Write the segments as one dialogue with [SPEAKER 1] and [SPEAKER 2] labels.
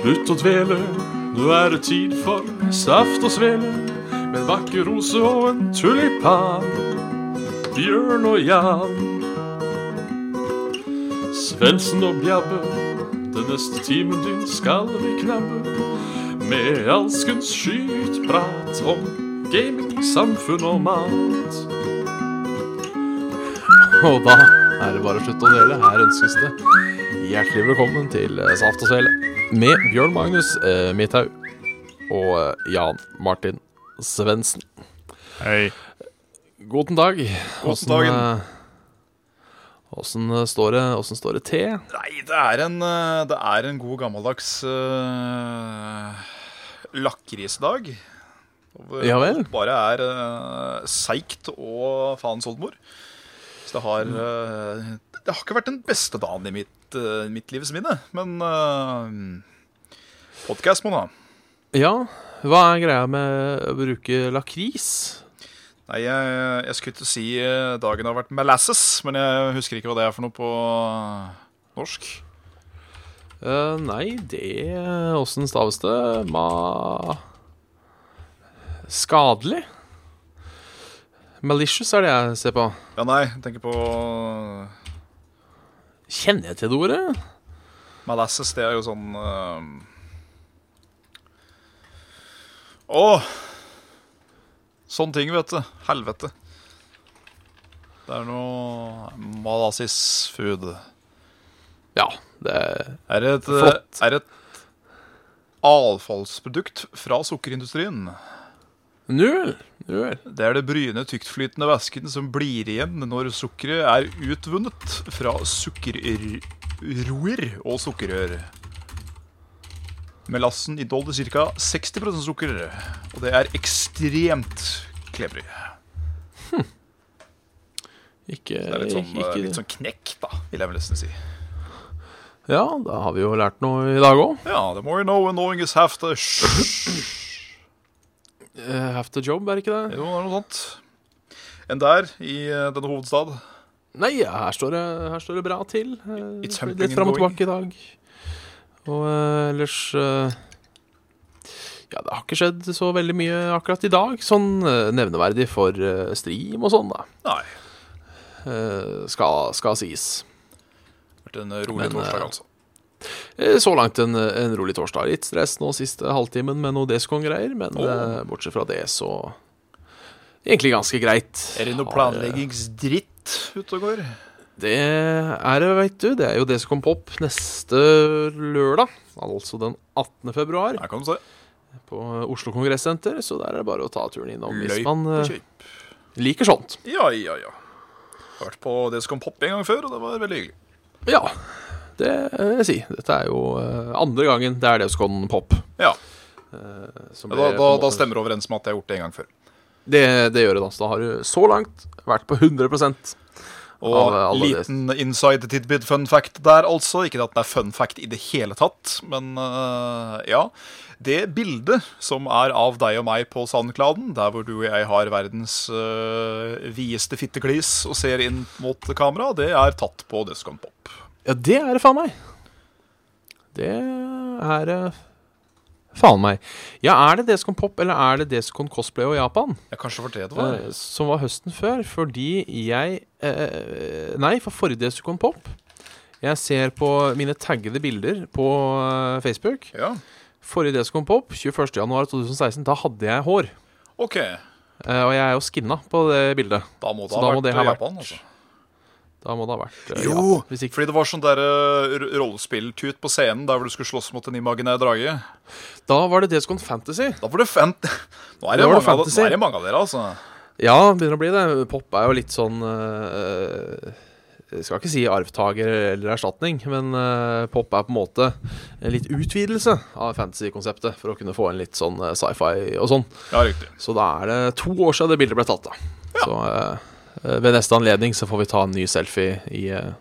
[SPEAKER 1] Slutt å dvele, nå er det tid for saft og svele. Med en vakker rose og en tulipan. Bjørn og Jan. Svendsen og Bjabbe, den neste timen din skal vi knabbe. Med alskens skytprat om gaming, samfunn og mat.
[SPEAKER 2] Og da er det bare å slutte å dele. Her ønskes det hjertelig velkommen til eh, Saft og Svele med Bjørn Magnus eh, Midthaug og eh, Jan Martin Svendsen.
[SPEAKER 3] Hei.
[SPEAKER 2] Guten dag.
[SPEAKER 3] Guten
[SPEAKER 2] Hvordan,
[SPEAKER 3] dagen.
[SPEAKER 2] eh, Hvordan eh, står det, hvordan står det til?
[SPEAKER 3] Nei, det er en, eh, det er en god gammeldags uh, lakrisdag. Hvor
[SPEAKER 2] Ja vel.
[SPEAKER 3] alt Bare er eh, seigt og faens oldemor. Så det har
[SPEAKER 2] Mm.
[SPEAKER 3] eh, Det har ikke vært den beste dagen i mitt, eh, mitt livs minne, men uh, Podkast må nå.
[SPEAKER 2] Ja, hva er greia med å bruke lakris?
[SPEAKER 3] Nei, jeg, jeg skulle til å si eh, dagen har vært molasses, men jeg husker ikke hva det er for noe på norsk.
[SPEAKER 2] Eh, nei, det eh, Åssen staves det? Ma... Skadelig? Malicious er det jeg ser på.
[SPEAKER 3] Ja, nei, jeg tenker på
[SPEAKER 2] Kjenner jeg til det ordet?
[SPEAKER 3] Molasses, det er jo sånn eh, Åh! Sånne ting, vet du. Helvete. Det er noe Molasses food.
[SPEAKER 2] Ja, det er
[SPEAKER 3] Er et, eh,
[SPEAKER 2] Flott.
[SPEAKER 3] Er et avfallsprodukt fra sukkerindustrien.
[SPEAKER 2] Null! Null.
[SPEAKER 3] Det er det bryne, tyktflytende væsken som blir igjen når sukkeret er utvunnet fra sukkerroer og sukkerrør. Melassen inneholder ca. 60 sukker, og det er ekstremt klebrig.
[SPEAKER 2] Ikke,
[SPEAKER 3] Det er litt sånn,
[SPEAKER 2] Eh, ikke
[SPEAKER 3] litt sånn knekk, da, vil jeg vel nesten si.
[SPEAKER 2] Ja, da har vi jo lært noe i dag òg.
[SPEAKER 3] Ja, the more you know, and knowing is half the sh-
[SPEAKER 2] Have to job, er ikke det?
[SPEAKER 3] Jo, det er noe sånt. Enn der, i eh, denne hovedstad.
[SPEAKER 2] Nei, her står det, her står det bra til. Eh,
[SPEAKER 3] It's humping
[SPEAKER 2] litt fram og
[SPEAKER 3] and going.
[SPEAKER 2] tilbake i dag. Og eh, ellers eh, Ja, det har ikke skjedd så veldig mye akkurat i dag. Sånn eh, nevneverdig for eh, stream og sånn, da.
[SPEAKER 3] Nei.
[SPEAKER 2] Eh, skal, skal sies.
[SPEAKER 3] det har Vært en rolig
[SPEAKER 2] Men, eh,
[SPEAKER 3] torsdag, altså.
[SPEAKER 2] Eh, Så langt en, en rolig torsdag. Litt stress nå siste halvtimen med noe Descon-greier, men
[SPEAKER 3] Åh.
[SPEAKER 2] eh, bortsett fra det, så Egentlig ganske greit.
[SPEAKER 3] Er det noe
[SPEAKER 2] Har, eh,
[SPEAKER 3] planleggingsdritt ute og går?
[SPEAKER 2] Det er det, veit du. Det er jo Descon Pop neste lørdag, altså den 18. februar,
[SPEAKER 3] Her kan du se.
[SPEAKER 2] på Oslo Kongressenter, så der er det bare å ta turen innom hvis
[SPEAKER 3] Løyp
[SPEAKER 2] man
[SPEAKER 3] og
[SPEAKER 2] eh,
[SPEAKER 3] kjøp.
[SPEAKER 2] liker sånt.
[SPEAKER 3] Ja, ja, ja. Hørt på det som kom pop en gang før, og det var veldig hyggelig.
[SPEAKER 2] Ja, det vil jeg si. Dette er jo eh, andre gangen det er Descon Pop.
[SPEAKER 3] Ja,
[SPEAKER 2] eh, som
[SPEAKER 3] Da,
[SPEAKER 2] blir på
[SPEAKER 3] da,
[SPEAKER 2] en
[SPEAKER 3] da
[SPEAKER 2] måte-
[SPEAKER 3] stemmer det overens med at jeg har gjort det en gang før.
[SPEAKER 2] Det, det gjør det, da. Så da har du så langt vært på 100
[SPEAKER 3] Og
[SPEAKER 2] Av alle det-
[SPEAKER 3] liten inside tidbit fun fact der, altså. Ikke at det er fun fact i det hele tatt, men øh, ja. Det bildet som er av deg og meg på Sandkladen, der hvor du og jeg har verdens øh, videste fitteklis og ser inn mot kamera, det er tatt på Descon Pop.
[SPEAKER 2] Ja, det er det faen meg. Det er det faen meg. Ja, er det Descon Pop, eller er det Descon Cosplay og Japan?
[SPEAKER 3] Jeg kanskje for det det var.
[SPEAKER 2] Eh, som var høsten før, fordi jeg eh, Nei, for forrige Descon Pop. Jeg ser på mine taggede bilder på eh, Facebook.
[SPEAKER 3] Ja,
[SPEAKER 2] Forrige Descon Pop, 21.1.2016, da hadde jeg hår.
[SPEAKER 3] OK.
[SPEAKER 2] Eh, og jeg er jo skinna på det bildet.
[SPEAKER 3] Da må det
[SPEAKER 2] Så
[SPEAKER 3] ha
[SPEAKER 2] da må
[SPEAKER 3] vært
[SPEAKER 2] det ha
[SPEAKER 3] øh,
[SPEAKER 2] vært
[SPEAKER 3] Japan, altså.
[SPEAKER 2] Da må det ha vært eh,
[SPEAKER 3] Jo,
[SPEAKER 2] Japan, hvis ikke
[SPEAKER 3] fordi det var sånn der eh, r- rollespilltut på scenen der hvor du skulle slåss mot en imaginær drage.
[SPEAKER 2] Da var det Descon Fantasy.
[SPEAKER 3] Da var det fant... Nå er
[SPEAKER 2] Da
[SPEAKER 3] det,
[SPEAKER 2] var det
[SPEAKER 3] mange, av,
[SPEAKER 2] fantasy.
[SPEAKER 3] nå er det mange av dere, altså.
[SPEAKER 2] Ja, begynner å bli det. Pop er jo litt sånn eh, Jeg skal ikke si arvtaker eller erstatning, men eh, pop er på en måte en litt utvidelse av fantasy-konseptet for å kunne få inn litt sånn eh, sci-fi og sånn.
[SPEAKER 3] Ja, riktig.
[SPEAKER 2] Så da er det to år siden det bildet ble tatt, da. Så eh, ved neste anledning så får vi ta en ny selfie i eh,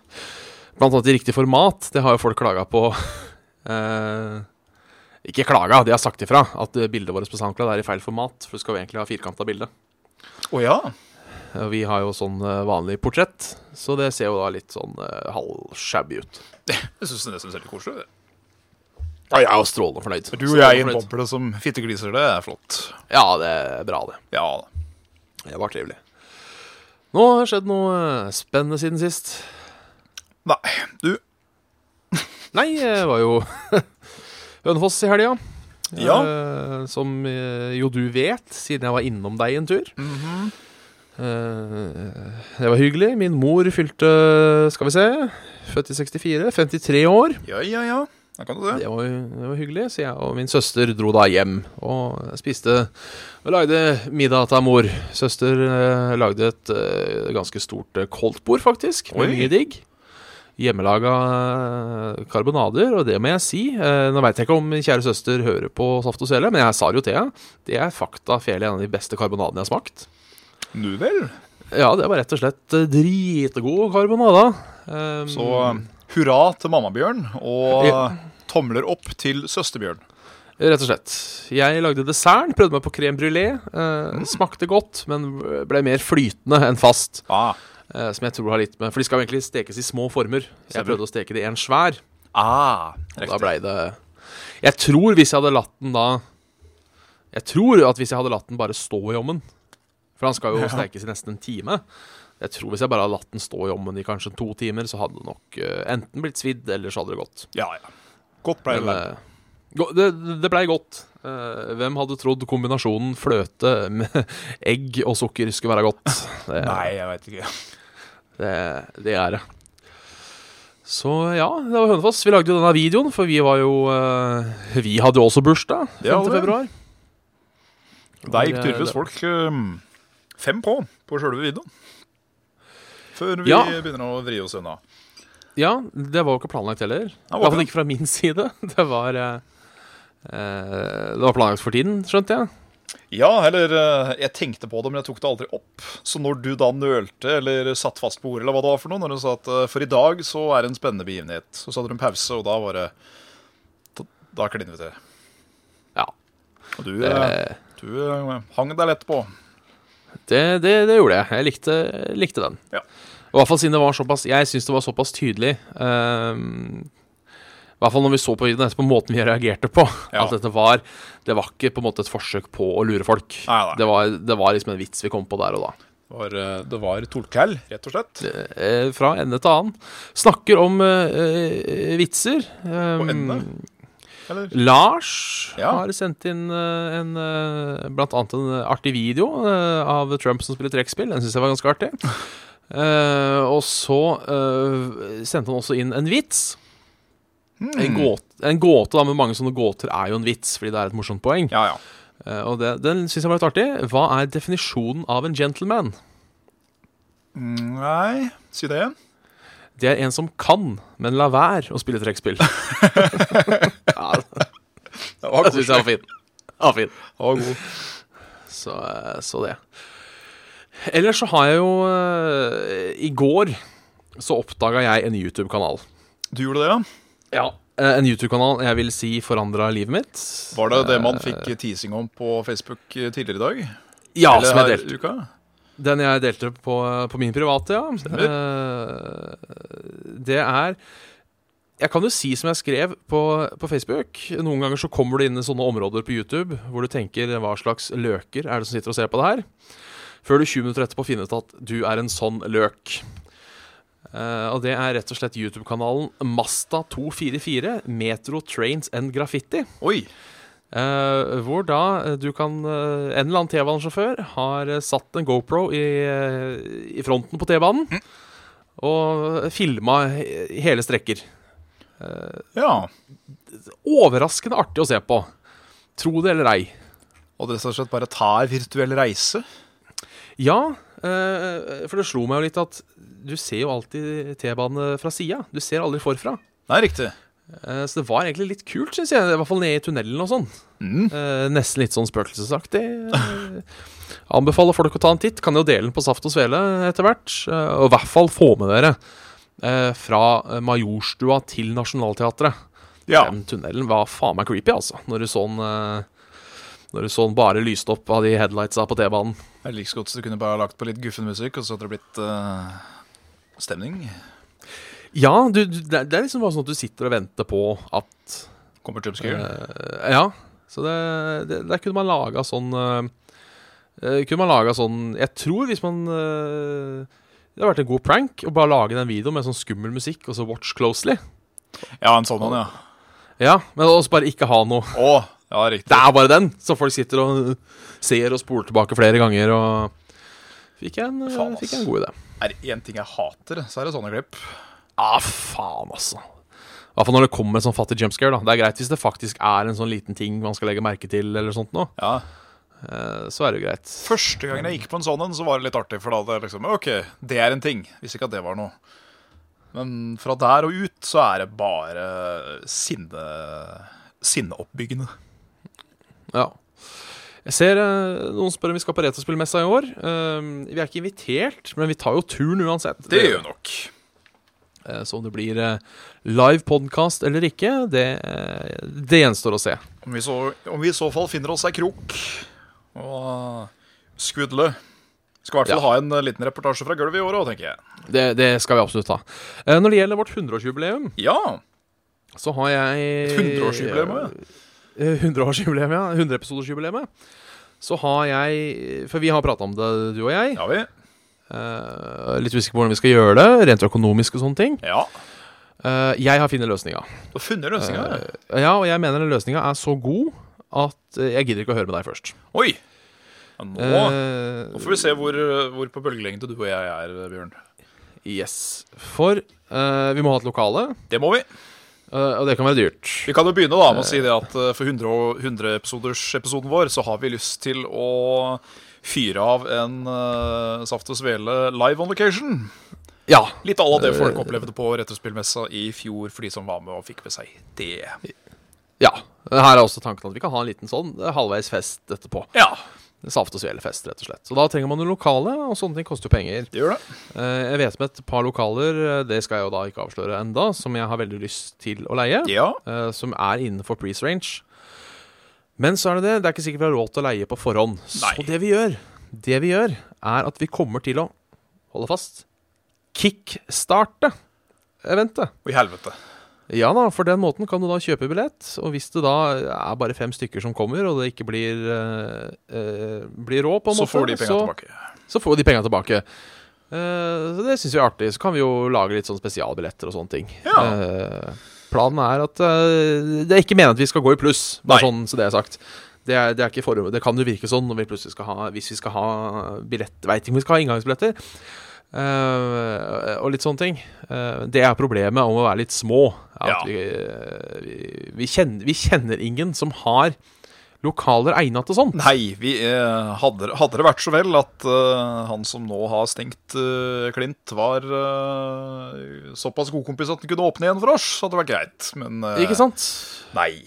[SPEAKER 2] blant annet i riktig format. Det har jo folk klaga på. eh, ikke klaga, de har sagt ifra at eh, bildet vårt på SoundCloud er i feil format. For du skal jo egentlig ha firkanta bilde.
[SPEAKER 3] Å ja.
[SPEAKER 2] Og Vi har jo sånn eh, vanlig portrett, så det ser jo da litt sånn eh, halvshabby ut.
[SPEAKER 3] Jeg syns det nesten ser litt koselig ut.
[SPEAKER 2] Ja, jeg er jo strålende fornøyd.
[SPEAKER 3] Du og jeg i en
[SPEAKER 2] Strålende fornøyd.
[SPEAKER 3] boble som fittegliser, det er flott.
[SPEAKER 2] Ja, det er bra, det.
[SPEAKER 3] Ja da.
[SPEAKER 2] Det var trivelig. Nå har det skjedd noe eh, spennende siden sist.
[SPEAKER 3] Nei, du.
[SPEAKER 2] Nei, det var jo Hønefoss i helga.
[SPEAKER 3] Ja.
[SPEAKER 2] Eh, som eh, jo du vet, siden jeg var innom deg en tur.
[SPEAKER 3] Mhm.
[SPEAKER 2] Eh, det var hyggelig. Min mor fylte, skal vi se, født i 64, 53 år.
[SPEAKER 3] Ja, ja, ja. Da kan du det.
[SPEAKER 2] Det var, det var hyggelig, så jeg og min søster dro da hjem og spiste og lagde middag til mor. Søster eh, lagde et eh, ganske stort eh, koldtbord, faktisk, med
[SPEAKER 3] Oi.
[SPEAKER 2] mye digg. Hjemmelaga eh, karbonader, og det må jeg si. eh, Nå veit jeg ikke om min kjære søster hører på Saft og Sele, men jeg sa det jo til henne. Det er fakta fele en av de beste karbonadene jeg har smakt.
[SPEAKER 3] Nu vel.
[SPEAKER 2] Ja, det var rett og slett eh, dritgod karbonade. Um,
[SPEAKER 3] Så hurra til mammabjørn, og
[SPEAKER 2] Ja.
[SPEAKER 3] tomler opp til søsterbjørn.
[SPEAKER 2] Rett og slett. Jeg lagde desserten, prøvde meg på crème brulé. Eh, Smakte godt, men ble mer flytende enn fast.
[SPEAKER 3] Ah.
[SPEAKER 2] Eh, som jeg tror har litt med For de skal jo egentlig stekes i små former. Jeg
[SPEAKER 3] Stemmer.
[SPEAKER 2] prøvde å steke det i en svær.
[SPEAKER 3] Ah,
[SPEAKER 2] Og da
[SPEAKER 3] riktig.
[SPEAKER 2] blei det Jeg tror hvis jeg hadde latt den da Jeg tror at hvis jeg hadde latt den bare stå i ovnen For han skal jo stekes i nesten en time. Jeg tror hvis jeg bare hadde latt den stå i ovnen i kanskje to timer, så hadde det nok eh, enten blitt svidd, eller så hadde det gått.
[SPEAKER 3] Ja, ja. Godt ble det.
[SPEAKER 2] Men,
[SPEAKER 3] der.
[SPEAKER 2] eh, go- det, det blei godt. Eh, hvem hadde trodd kombinasjonen fløte med egg og sukker skulle være godt? Det,
[SPEAKER 3] Nei, jeg veit ikke.
[SPEAKER 2] det, det er det. Så ja, det var Hønefoss. Vi lagde jo denne videoen, for vi var jo eh, Vi hadde jo også bursdag 5.
[SPEAKER 3] Ja, det.
[SPEAKER 2] februar.
[SPEAKER 3] Der gikk
[SPEAKER 2] det-
[SPEAKER 3] tydeligvis folk øhm, fem på på sjølve videoen. Før vi
[SPEAKER 2] Ja.
[SPEAKER 3] begynner å vri oss unna.
[SPEAKER 2] Ja, det var jo ikke planlagt heller. I
[SPEAKER 3] var
[SPEAKER 2] hvert
[SPEAKER 3] ikke
[SPEAKER 2] fall ikke fra min side. Det var eh, eh, Det var planlagt for tiden, skjønte jeg.
[SPEAKER 3] Ja, eller eh, jeg tenkte på det, men jeg tok det aldri opp. Så når du da nølte eller satt fast på ordet, eller hva det var for noe, når du sa at eh, for i dag så er det en spennende begivenhet, så satte du en pause, og da var det Da, da klinnet vi til.
[SPEAKER 2] Ja.
[SPEAKER 3] Og du,
[SPEAKER 2] Det,
[SPEAKER 3] eh, du eh, hang deg lett på.
[SPEAKER 2] Det, det, det gjorde jeg. Jeg likte, likte den.
[SPEAKER 3] Ja.
[SPEAKER 2] Og I hvert fall siden det var såpass Jeg syns det var såpass tydelig. ehm, I hvert fall når vi så på videoen etterpå, måten vi reagerte på.
[SPEAKER 3] Ja.
[SPEAKER 2] At dette var Det var ikke på en måte et forsøk på å lure folk.
[SPEAKER 3] Nei, nei.
[SPEAKER 2] Det, var, det var liksom en vits vi kom på der og da.
[SPEAKER 3] Det var, eh, det var tolkell, rett og slett.
[SPEAKER 2] Eh, fra ende til annen. Snakker om eh, eh, vitser.
[SPEAKER 3] På
[SPEAKER 2] Ehm,
[SPEAKER 3] ende? Eller?
[SPEAKER 2] Lars
[SPEAKER 3] Ja.
[SPEAKER 2] har sendt inn eh, en, eh, blant annet en artig video eh, av Trump som spiller trekkspill. Den syns jeg var ganske artig. Eh, og så eh, sendte han også inn en vits. En, gåte, en gåte, da, men mange sånne gåter er jo en vits, fordi det er et morsomt poeng.
[SPEAKER 3] Ja, ja.
[SPEAKER 2] Eh, og det, den syns jeg var litt artig. Hva er definisjonen av en gentleman?
[SPEAKER 3] Nei, si det igjen.
[SPEAKER 2] Det er en som kan, men lar være å spille trekkspill. ja, det
[SPEAKER 3] Det var
[SPEAKER 2] syns jeg var fin. Ja, fin.
[SPEAKER 3] god.
[SPEAKER 2] Så, så det. Ellers så har jeg jo eh, I går så oppdaga jeg en YouTube-kanal.
[SPEAKER 3] Du gjorde det, ja?
[SPEAKER 2] Ja. En YouTube-kanal jeg vil si forandra livet mitt.
[SPEAKER 3] Var det det
[SPEAKER 2] Eh,
[SPEAKER 3] man fikk teasing om på Facebook eh, tidligere i dag?
[SPEAKER 2] Ja,
[SPEAKER 3] Eller
[SPEAKER 2] som jeg
[SPEAKER 3] her
[SPEAKER 2] delte.
[SPEAKER 3] i uka?
[SPEAKER 2] Den jeg delte på, på min private, ja. Eh, det er Jeg kan jo si som jeg skrev på, på Facebook. Noen ganger så kommer du inn i sånne områder på YouTube hvor du tenker hva slags løker er det som sitter og ser på det her? Før du 20 minutter etterpå finner ut at du er en sånn løk. Eh, og det er rett og slett YouTube-kanalen Masta244, Metro Trains and Graffiti.
[SPEAKER 3] Oi.
[SPEAKER 2] Eh, hvor da eh, du kan eh, En eller annen T-banesjåfør har eh, satt en GoPro i, eh, i fronten på T-banen og filma he- hele strekker.
[SPEAKER 3] Ja.
[SPEAKER 2] Overraskende artig å se på. Tro det eller ei.
[SPEAKER 3] Og det er rett og slett bare tar virtuell reise.
[SPEAKER 2] Ja, eh, for det slo meg jo litt at du ser jo alltid T-bane fra sida. Du ser aldri forfra.
[SPEAKER 3] Nei, riktig.
[SPEAKER 2] Eh, Så det var egentlig litt kult, syns jeg. I hvert fall nede i tunnelen og sånn.
[SPEAKER 3] Mm.
[SPEAKER 2] Eh, nesten litt sånn spøkelsesaktig. Eh, anbefaler folk å ta en titt. Kan jo dele den på Saft og Svele etter hvert. Eh, og i hvert fall få med dere eh, fra Majorstua til Nationaltheatret.
[SPEAKER 3] Ja.
[SPEAKER 2] Den tunnelen var faen meg creepy, altså. Når du så den eh, når du så den bare lyste opp av de headlightsa på T-banen.
[SPEAKER 3] Det er like så godt så du kunne bare lagt på litt guffen musikk, og så hadde det blitt eh, stemning.
[SPEAKER 2] Ja, du, du, det, det er liksom bare sånn at du sitter og venter på at
[SPEAKER 3] Kommer Jumpscare.
[SPEAKER 2] Eh, ja, så det, det Der kunne man laga sånn eh, eh, Kunne man laga sånn Jeg tror hvis man eh, Det hadde vært en god prank å bare lage den videoen med sånn skummel musikk og så watch closely. Eh.
[SPEAKER 3] Ja, en sånn en, ja.
[SPEAKER 2] Ja, Men også bare ikke ha noe.
[SPEAKER 3] Å, ja, riktig.
[SPEAKER 2] Det er bare den! Så folk sitter og ser og spoler tilbake flere ganger og Fikk jeg en, eh,
[SPEAKER 3] Faen, ass.
[SPEAKER 2] fikk jeg en god idé.
[SPEAKER 3] Er det én ting jeg hater, så er det sånne klipp.
[SPEAKER 2] Ah, faen, altså. I hvert fall når det kommer en sånn fattig jumpscare. da Det er greit hvis det faktisk er en sånn liten ting man skal legge merke til, eller sånt nå.
[SPEAKER 3] Ja.
[SPEAKER 2] Eh, Så er det jo greit.
[SPEAKER 3] Første gangen jeg gikk på en sånn en, så var det litt artig. For da hadde jeg liksom OK, det er en ting. Visste ikke at det var noe. Men fra der og ut så er det bare sinne... sinneoppbyggende.
[SPEAKER 2] Ja. Jeg ser eh, noen spør om vi skal på Retrospillmessa i år. Eh, vi er ikke invitert, men vi tar jo turen uansett.
[SPEAKER 3] vi nok.
[SPEAKER 2] Eh, så om det blir eh, live podkast eller ikke, det, eh, det gjenstår å se.
[SPEAKER 3] Om vi, så, om vi i så fall finner oss ei krok og skudle. Skal i hvert
[SPEAKER 2] Ja.
[SPEAKER 3] fall ha en eh, liten reportasje fra gulvet i år òg, tenker jeg.
[SPEAKER 2] Det, det skal vi absolutt ha. Eh, når det gjelder vårt 100-årsjubileum,
[SPEAKER 3] Ja.
[SPEAKER 2] så har jeg
[SPEAKER 3] 100-årsjubileum òg, ja.
[SPEAKER 2] Eh, 100-årsjubileum, ja. 100-episodersjubileet. Så har jeg For vi har prata om det, du og jeg.
[SPEAKER 3] Ja, vi.
[SPEAKER 2] Eh, litt usikker på hvordan vi skal gjøre det, rent økonomisk og sånne ting.
[SPEAKER 3] Ja.
[SPEAKER 2] Eh, jeg har funnet løsninga.
[SPEAKER 3] Du har funnet løsninga. ja.
[SPEAKER 2] Eh, Ja, og jeg mener løsninga er så god at eh, jeg gidder ikke å høre med deg først.
[SPEAKER 3] Oi. Ja, nå,
[SPEAKER 2] Eh,
[SPEAKER 3] nå får vi se hvor, hvor på bølgelengde du og jeg er, Bjørn.
[SPEAKER 2] yes. For eh, vi må ha et lokale,
[SPEAKER 3] Det må vi.
[SPEAKER 2] eh, og det kan være dyrt.
[SPEAKER 3] Vi kan jo begynne da med å si det at eh, for 100-episodersepisoden vår så har vi lyst til å fyre av en eh, Saft og Svele live on location.
[SPEAKER 2] Ja.
[SPEAKER 3] Litt à la det folk
[SPEAKER 2] Eh.
[SPEAKER 3] opplevde på Retrospillmessa i fjor for de som var med og fikk med seg det.
[SPEAKER 2] ja. Her er også tanken at vi kan ha en liten sånn eh, halvveis fest etterpå.
[SPEAKER 3] Ja,
[SPEAKER 2] Saft- og svelefest, rett og slett. Så da trenger man jo lokale, og sånne ting koster jo penger.
[SPEAKER 3] det gjør det.
[SPEAKER 2] Eh, jeg vet om et par lokaler, eh, det skal jeg jo da ikke avsløre enda, som jeg har veldig lyst til å leie.
[SPEAKER 3] Ja,
[SPEAKER 2] eh, som er innenfor price range. Men så er det det, det er ikke sikkert vi har råd til å leie på forhånd.
[SPEAKER 3] Nei.
[SPEAKER 2] Så det vi gjør, det vi gjør, er at vi kommer til å holde fast kickstarte eventet.
[SPEAKER 3] og i helvete.
[SPEAKER 2] Ja da, for den måten kan du da kjøpe billett. Og hvis det da er bare fem stykker som kommer, og det ikke blir, eh, eh, blir råd, på en
[SPEAKER 3] Så
[SPEAKER 2] måte,
[SPEAKER 3] får de penga
[SPEAKER 2] så,
[SPEAKER 3] tilbake.
[SPEAKER 2] så får de penga tilbake. Eh, så det syns vi er artig. Så kan vi jo lage litt sånn spesialbilletter og sånne ting.
[SPEAKER 3] Ja.
[SPEAKER 2] Eh, planen er at eh, Det er ikke meningen at vi skal gå i pluss, bare
[SPEAKER 3] Nei.
[SPEAKER 2] sånn så det er sagt. Det, er, det, er ikke form- det kan jo virke sånn når vi plutselig skal ha hvis vi skal ha billett Veit ikke om vi skal ha inngangsbilletter. eh, og litt sånne ting. Eh, det er problemet om å være litt små. er
[SPEAKER 3] Ja.
[SPEAKER 2] At vi, eh, vi, vi, kjenner, vi kjenner ingen som har lokaler egna til sånn, sånt.
[SPEAKER 3] Nei, vi, eh, hadde, hadde det vært så vel at eh, han som nå har stengt eh, Klint, var eh, såpass god kompis at han kunne åpne igjen for oss, så hadde det vært greit. Men eh,
[SPEAKER 2] Ikke sant?
[SPEAKER 3] nei.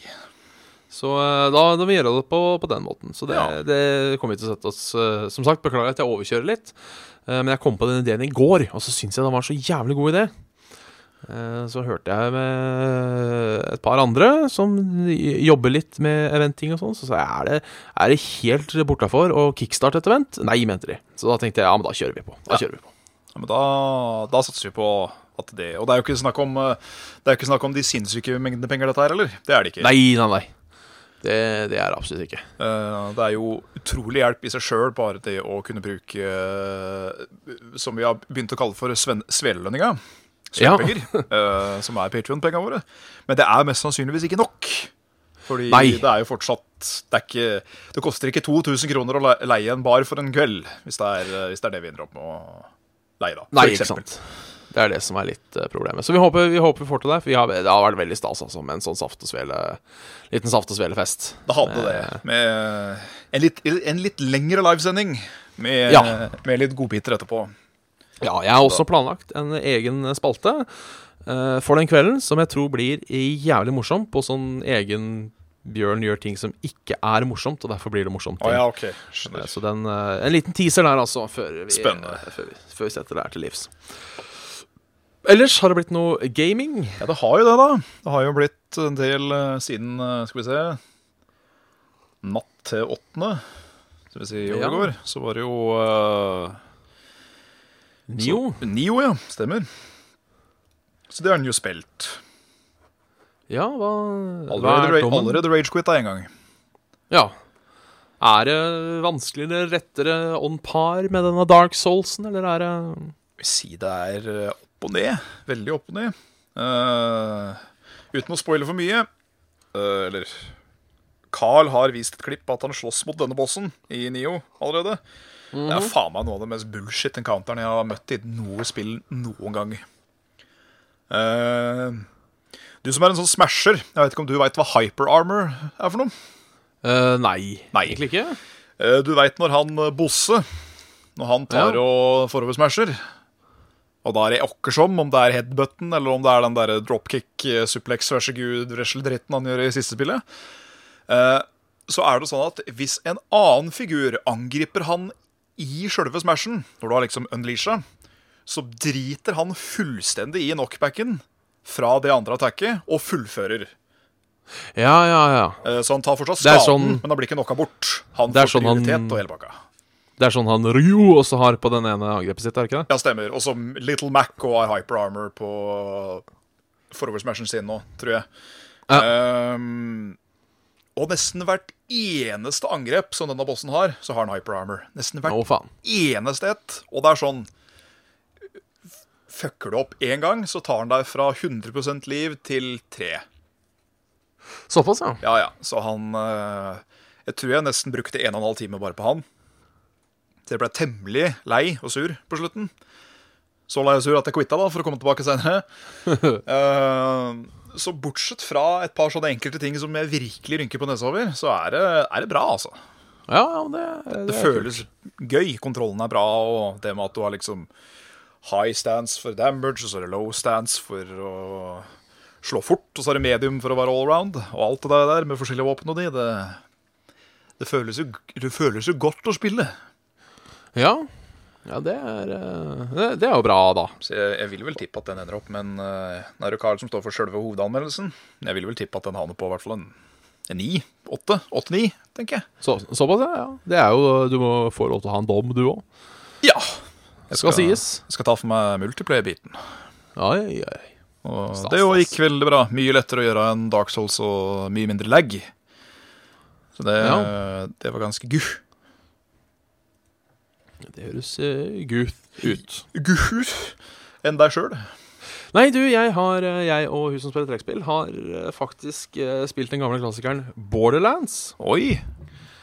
[SPEAKER 2] Så eh, da, da må vi gjøre det på, på den måten. Så det,
[SPEAKER 3] Ja.
[SPEAKER 2] det kommer vi til å sette oss eh, Som sagt, beklager at jeg overkjører litt, eh, men jeg kom på den ideen i går, og så syns jeg den var så jævlig god idé. Eh, Så hørte jeg med et par andre som j- jobber litt med eventing og sånn, så sa jeg er det, er det helt bortafor å kickstarte et event? Nei, mente de. Så da tenkte jeg ja, men da kjører vi på. Da kjører vi på.
[SPEAKER 3] Ja, men da, da satser vi på at det Og det er jo ikke snakk om, eh, det er jo ikke snakk om de sinnssyke mengdene penger, dette her, eller? Det er det ikke.
[SPEAKER 2] Nei, nei, nei. Det, det er det absolutt ikke.
[SPEAKER 3] Eh, Det er jo utrolig hjelp i seg sjøl, bare det å kunne bruke eh, Som vi har begynt å kalle for sven- svelelønninga.
[SPEAKER 2] Ja.
[SPEAKER 3] Svelpenger. eh, som er Patrion-penga våre. Men det er mest sannsynligvis ikke nok. Fordi
[SPEAKER 2] Nei.
[SPEAKER 3] det er jo fortsatt Det, er ikke, det koster ikke 2000 kroner å le- leie en bar for en kveld, hvis det er, hvis det, er det vi ender opp med å leie, da. for
[SPEAKER 2] Nei, ikke
[SPEAKER 3] eksempel.
[SPEAKER 2] sant. Det er det som er litt eh, problemet. Så vi håper vi, håper vi får til det. For vi har, det har vært veldig stas altså, med en sånn saft og svele, liten saft og svelefest.
[SPEAKER 3] Da hadde det. Med en litt, en litt lengre livesending med,
[SPEAKER 2] Ja.
[SPEAKER 3] med litt godbiter etterpå.
[SPEAKER 2] Ja, jeg har også planlagt en egen spalte eh, for den kvelden, som jeg tror blir jævlig morsom på sånn egen Bjørn gjør ting som ikke er morsomt, og derfor blir det morsomt.
[SPEAKER 3] Å ja, OK. Skjønner.
[SPEAKER 2] Eh, Så den, eh, en liten teaser der, altså, før vi,
[SPEAKER 3] Spennende.
[SPEAKER 2] eh, Før vi, før vi setter det her til livs. Ellers har det blitt noe gaming.
[SPEAKER 3] Ja, det har jo det, da. Det har jo blitt en del eh, siden eh, Skal vi se Natt til åttende, skal vi si i
[SPEAKER 2] Ja.
[SPEAKER 3] overgår, så var det jo eh,
[SPEAKER 2] Nio.
[SPEAKER 3] så- Nio, ja. Stemmer. Så det har den jo spilt.
[SPEAKER 2] Ja, hva, hva
[SPEAKER 3] Allerede,
[SPEAKER 2] er
[SPEAKER 3] ra-
[SPEAKER 2] dommen?
[SPEAKER 3] allerede ragequit deg en gang.
[SPEAKER 2] Ja. Er det vanskeligere, rettere, on par med denne Dark Soulsen, eller er det
[SPEAKER 3] vil si det er eh, opp og ned. Veldig opp og ned. Eh, uten å spoile for mye eh, Eller Carl har vist et klipp at han slåss mot denne bossen i Nio allerede. Det er faen meg noe av det mest bullshit encounteren jeg har møtt i noe spill noen gang. Eh, du som er en sånn smasher, jeg vet ikke om du veit hva hyper armor er for noe?
[SPEAKER 2] Eh, nei.
[SPEAKER 3] Nei.
[SPEAKER 2] Egentlig ikke.
[SPEAKER 3] Eh, Du veit når han eh, Bosse Når han tar
[SPEAKER 2] Ja.
[SPEAKER 3] og foroversmasher Og da er det okkersom om det er headbutten Eller om det er den der dropkick eh, Suplex, vær så god, wrestle-dritten han gjør i siste spillet Eh, Så er det sånn at hvis en annen figur Angriper han i selve smashen Når du har liksom unleasha Så driter han fullstendig i knockbacken Fra det andre attacket Og fullfører
[SPEAKER 2] Ja, ja, ja.
[SPEAKER 3] Eh, Så han tar fortsatt
[SPEAKER 2] Det er
[SPEAKER 3] skaden
[SPEAKER 2] sånn-
[SPEAKER 3] Men han blir ikke knocka bort Han
[SPEAKER 2] Det er
[SPEAKER 3] får
[SPEAKER 2] sånn han-
[SPEAKER 3] prioritet og hele bakka
[SPEAKER 2] Det er sånn han Ryu også har på den ene angrepet sitt, er det ikke det?
[SPEAKER 3] Ja, stemmer. Og som Little Mac og har Hyper Armor på foroversmashen sin nå, tror jeg. Ehm, og nesten hvert eneste angrep som denne bossen har, så har han Hyper Armor. Nesten hvert
[SPEAKER 2] Å, faen.
[SPEAKER 3] eneste ett. Og det er sånn Fucker du opp én gang, så tar han deg fra 100 liv til 3.
[SPEAKER 2] Såpass, ja.
[SPEAKER 3] Ja, ja. Så han eh, Jeg tror jeg nesten brukte en og en halv time bare på han. Så jeg ble temmelig lei og sur på slutten. Så lei og sur at jeg quitta, da, for å komme tilbake senere. Eh, så bortsett fra et par sånne enkelte ting som jeg virkelig rynker på nesa over, så er det, er det bra, altså.
[SPEAKER 2] Ja, ja, men det,
[SPEAKER 3] Det
[SPEAKER 2] er kult.
[SPEAKER 3] føles gøy. Kontrollen er bra, og det med at du har liksom high stance for damage, og så er det low stance for å slå fort, og så er det medium for å være allround, og alt det der der med forskjellige våpen og de, det, det, føles jo, det føles jo godt å spille.
[SPEAKER 2] Ja. ja, det er eh, det, det er jo bra, da.
[SPEAKER 3] Så jeg, jeg vil vel tippe at den ender opp, men eh, det er jo Carl som står for sjølve hovedanmeldelsen. Jeg vil vel tippe at den havner på i hvert fall en en ni, åtte, åtte-ni, tenker jeg.
[SPEAKER 2] Så, såpass, ja, ja. Det er jo Du må få lov til å ha en dom, du òg.
[SPEAKER 3] Ja. Jeg
[SPEAKER 2] Skal sies.
[SPEAKER 3] Jeg skal ta for meg multiplayer-biten.
[SPEAKER 2] Ai, ai, ai.
[SPEAKER 3] Og
[SPEAKER 2] Stas,
[SPEAKER 3] det jo
[SPEAKER 2] stas.
[SPEAKER 3] gikk veldig bra. Mye lettere å gjøre enn Dark Souls og mye mindre lag. Så det,
[SPEAKER 2] Ja.
[SPEAKER 3] det var ganske guh.
[SPEAKER 2] Det høres uh, guth ut.
[SPEAKER 3] Guh enn deg sjøl.
[SPEAKER 2] Nei, du, jeg, har, eh, jeg og hun som spiller trekkspill, har eh, faktisk eh, spilt den gamle klassikeren Borderlands.
[SPEAKER 3] Oi.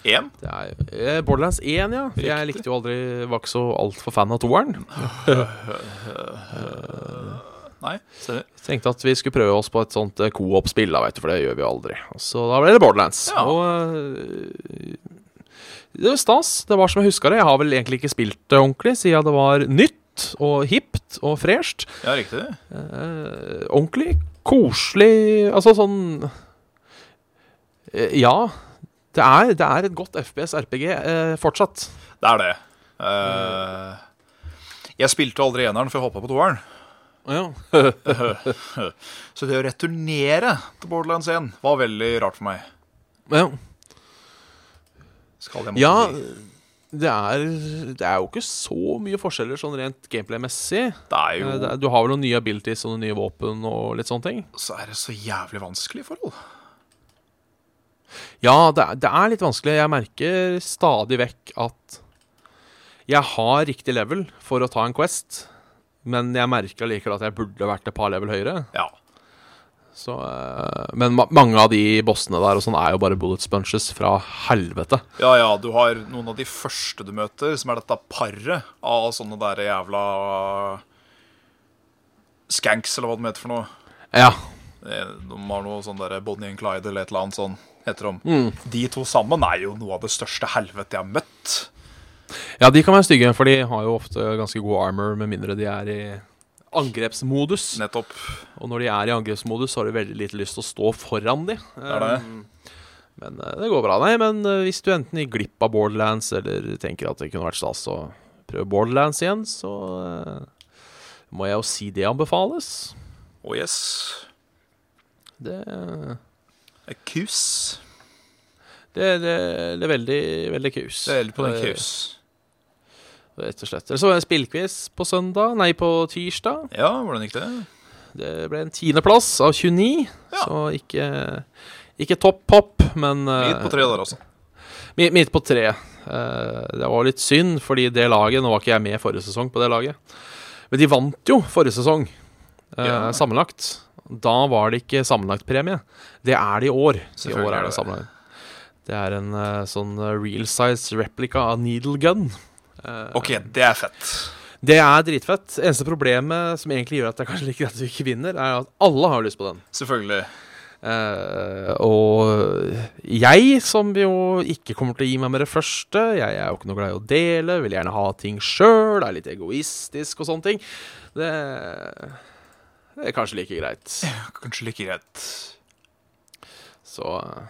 [SPEAKER 3] Én.
[SPEAKER 2] Det er, eh, Borderlands 1, ja. For jeg likte jo aldri Var ikke så altfor fan av toeren.
[SPEAKER 3] Nei. stemmer.
[SPEAKER 2] Tenkte at vi skulle prøve oss på et sånt eh, co-op-spill, da, vet du, for det gjør vi jo aldri. Så da ble det Borderlands.
[SPEAKER 3] Ja.
[SPEAKER 2] Og eh, det var stas. Det var som jeg huska det. Jeg har vel egentlig ikke spilt det ordentlig siden det var nytt og hipt og fresht.
[SPEAKER 3] Ja, riktig.
[SPEAKER 2] Eh, ordentlig koselig Altså sånn eh, Ja. Det er, det er et godt FPS RPG eh, fortsatt.
[SPEAKER 3] Det er det. Eh, jeg spilte aldri eneren, for jeg hoppa på toeren. Så det å returnere til Borderlands 1 var veldig rart for meg.
[SPEAKER 2] Ja.
[SPEAKER 3] Skal jeg måtte
[SPEAKER 2] ja
[SPEAKER 3] si.
[SPEAKER 2] det, er, det er jo ikke så mye forskjeller sånn rent gameplay-messig.
[SPEAKER 3] Det er jo
[SPEAKER 2] Eh, det er- Du har vel noen nye abilities og noen nye våpen og litt sånne ting?
[SPEAKER 3] Så er det så jævlig vanskelig forhold.
[SPEAKER 2] Ja, det er, det er litt vanskelig. Jeg merker stadig vekk at jeg har riktig level for å ta en Quest, men jeg merker allikevel at jeg burde vært et par level høyere.
[SPEAKER 3] Ja.
[SPEAKER 2] Så, eh, men ma mange av de bossene der og sånn er jo bare bullet sponges fra helvete.
[SPEAKER 3] Ja, ja, du har noen av de første du møter, som er dette paret av sånne der jævla eh, Skanks, eller hva de heter for noe.
[SPEAKER 2] Ja.
[SPEAKER 3] Eh, De har noe sånn der Bonnie and Clyde eller et eller annet sånn, heter de. De to sammen er jo noe av det største helvete jeg har møtt.
[SPEAKER 2] ja, de kan være stygge, for de har jo ofte ganske god armor, med mindre de er i angrepsmodus.
[SPEAKER 3] Nettopp.
[SPEAKER 2] Og når de er i angrepsmodus, så har de veldig lite lyst til å stå foran de.
[SPEAKER 3] Er det?
[SPEAKER 2] Men eh, det går bra. Nei, men eh, hvis du enten gikk glipp av Borderlands, eller tenker at det kunne vært stas å prøve Borderlands igjen, så eh, må jeg jo si det anbefales.
[SPEAKER 3] Oh yes.
[SPEAKER 2] Det,
[SPEAKER 3] A kus.
[SPEAKER 2] det, det, det er veldig, veldig Eh, kus.
[SPEAKER 3] Det er litt på den
[SPEAKER 2] Eh,
[SPEAKER 3] kus.
[SPEAKER 2] Rett og slett. Eller så var det spillquiz på søndag, nei, på tirsdag.
[SPEAKER 3] Ja, hvordan gikk det?
[SPEAKER 2] Det ble en tiendeplass av 29,
[SPEAKER 3] Ja.
[SPEAKER 2] så ikke, ikke topp pop, men eh,
[SPEAKER 3] Midt på tre der altså. også.
[SPEAKER 2] Mi- Midt på tre. Eh, det var litt synd, fordi det laget Nå var ikke jeg med forrige sesong på det laget. Men de vant jo forrige sesong, eh,
[SPEAKER 3] Ja.
[SPEAKER 2] sammenlagt. Da var det ikke sammenlagtpremie. Det er det i år. I
[SPEAKER 3] Selvfølgelig
[SPEAKER 2] år
[SPEAKER 3] er
[SPEAKER 2] er
[SPEAKER 3] det
[SPEAKER 2] det sammenlagt. Det er en eh, sånn eh, real size replica av needle gun. Eh,
[SPEAKER 3] Ok, det er fett.
[SPEAKER 2] Det er dritfett. Eneste problemet som egentlig gjør at det er kanskje like greit at vi ikke vinner, er at alle har lyst på den.
[SPEAKER 3] Selvfølgelig.
[SPEAKER 2] Eh, og jeg, som jo ikke kommer til å gi meg med det første Jeg er jo ikke noe glad i å dele, vil gjerne ha ting sjøl, er litt egoistisk og sånne ting. Det, det er kanskje like greit.
[SPEAKER 3] Kanskje like greit.
[SPEAKER 2] Så eh,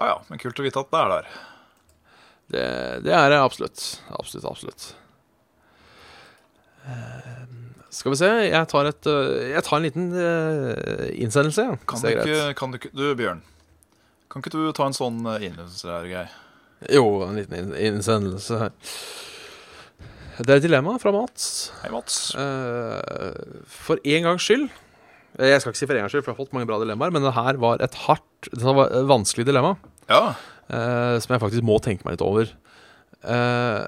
[SPEAKER 3] Ja ja, men kult å vite at det er der.
[SPEAKER 2] det, det er det absolutt. Absolutt, absolutt. Eh, skal vi se, jeg tar, et, eh, jeg tar en liten eh, innsendelse. ja, hvis
[SPEAKER 3] Kan du
[SPEAKER 2] det er greit.
[SPEAKER 3] ikke, kan du, ikke- du, Bjørn. Kan ikke du ta en sånn eh, innledelse der, Geir?
[SPEAKER 2] Jo, en liten inn- innsendelse her. Det er et dilemma fra Mats.
[SPEAKER 3] Hei, Mats.
[SPEAKER 2] Eh, for en gangs skyld eh, Jeg skal ikke si for en gangs skyld, for jeg har fått mange bra dilemmaer, men det her var et hardt, det her var et vanskelig dilemma
[SPEAKER 3] Ja.
[SPEAKER 2] eh, som jeg faktisk må tenke meg litt over. Uh,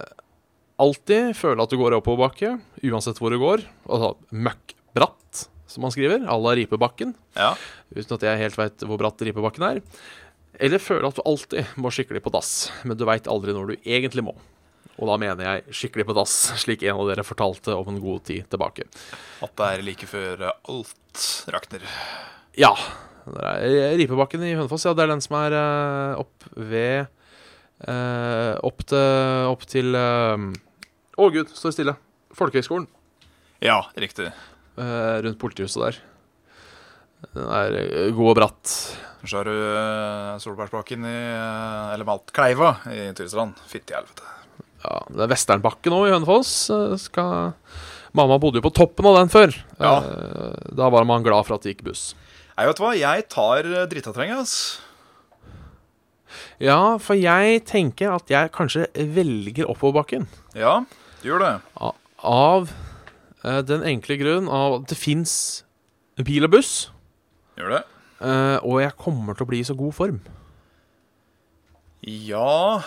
[SPEAKER 2] alltid føle at du går i oppoverbakke, uansett hvor du går. Altså møkkbratt, som han skriver, à la Ripebakken.
[SPEAKER 3] ja.
[SPEAKER 2] Uten at jeg helt veit hvor bratt Ripebakken er. Eller føle at du alltid må skikkelig på dass, men du veit aldri når du egentlig må. Og da mener jeg skikkelig på dass, slik en av dere fortalte om en god tid tilbake.
[SPEAKER 3] At det er like før eh, alt rakner.
[SPEAKER 2] Ja. Der er Ripebakken i Hønefoss, ja. Det er den som er eh, opp ved eh, Opp til Opp til eh, Å, gud, står stille. Folkehøgskolen.
[SPEAKER 3] Ja, riktig.
[SPEAKER 2] eh, rundt politihuset der. Den er eh, god og bratt.
[SPEAKER 3] Så har du eh, Solbergsbakken i eh, Eller Maltkleiva i Tyristrand. Fytti helvete.
[SPEAKER 2] Ja, det er Vesternbakken òg i Hønefoss. eh, Skal... Mamma bodde jo på toppen av den før.
[SPEAKER 3] Ja.
[SPEAKER 2] Eh, Da var man glad for at det gikk buss.
[SPEAKER 3] Nei, vet du hva? Jeg tar eh, drittatrenget, ass.
[SPEAKER 2] Ja, for jeg tenker at jeg kanskje velger oppoverbakken.
[SPEAKER 3] Ja, du gjør det.
[SPEAKER 2] A- Av eh, den enkle grunn av at det fins bil og buss,
[SPEAKER 3] Gjør det.
[SPEAKER 2] eh, og jeg kommer til å bli i så god form.
[SPEAKER 3] Ja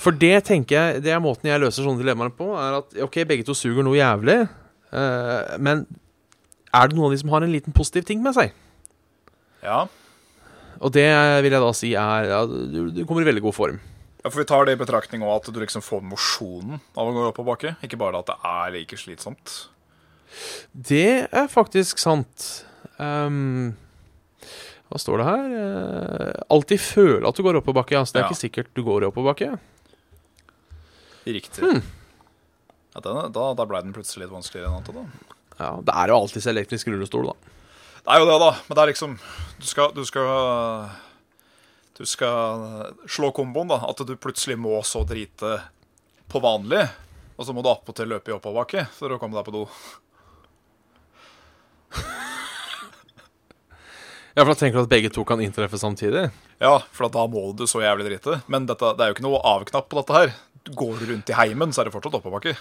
[SPEAKER 2] For det tenker jeg, det er måten jeg løser sånne dilemmaer på, er at ok, begge to suger noe jævlig, eh, men er det noen av de som har en liten positiv ting med seg?
[SPEAKER 3] Ja.
[SPEAKER 2] Og det vil jeg da si er ja, du, du kommer i veldig god form.
[SPEAKER 3] Ja, For vi tar det i betraktning òg, at du liksom får mosjonen av å gå opp og bakke. Ikke bare at det er like slitsomt.
[SPEAKER 2] Det er faktisk sant. Ehm, hva står det her? Eh, alltid føle at du går oppoverbakke. Altså, det er
[SPEAKER 3] Ja.
[SPEAKER 2] ikke sikkert du går i oppoverbakke.
[SPEAKER 3] Riktig. Ja, den, da da blei den plutselig litt vanskeligere enn antatt. da.
[SPEAKER 2] Ja, det er jo alltid elektrisk rullestol, da.
[SPEAKER 3] Det er jo det, da. Men det er liksom Du skal Du skal, du skal slå komboen, da. At du plutselig må så drite på vanlig. Og så må du attpåtil løpe i oppoverbakke for å komme deg på do.
[SPEAKER 2] Ja, for da tenker du at begge to kan inntreffe samtidig?
[SPEAKER 3] Ja, for da må du så jævlig drite. Men dette, det er jo ikke noe avknapp på dette her. Går du rundt i heimen, så er det fortsatt oppoverbakke.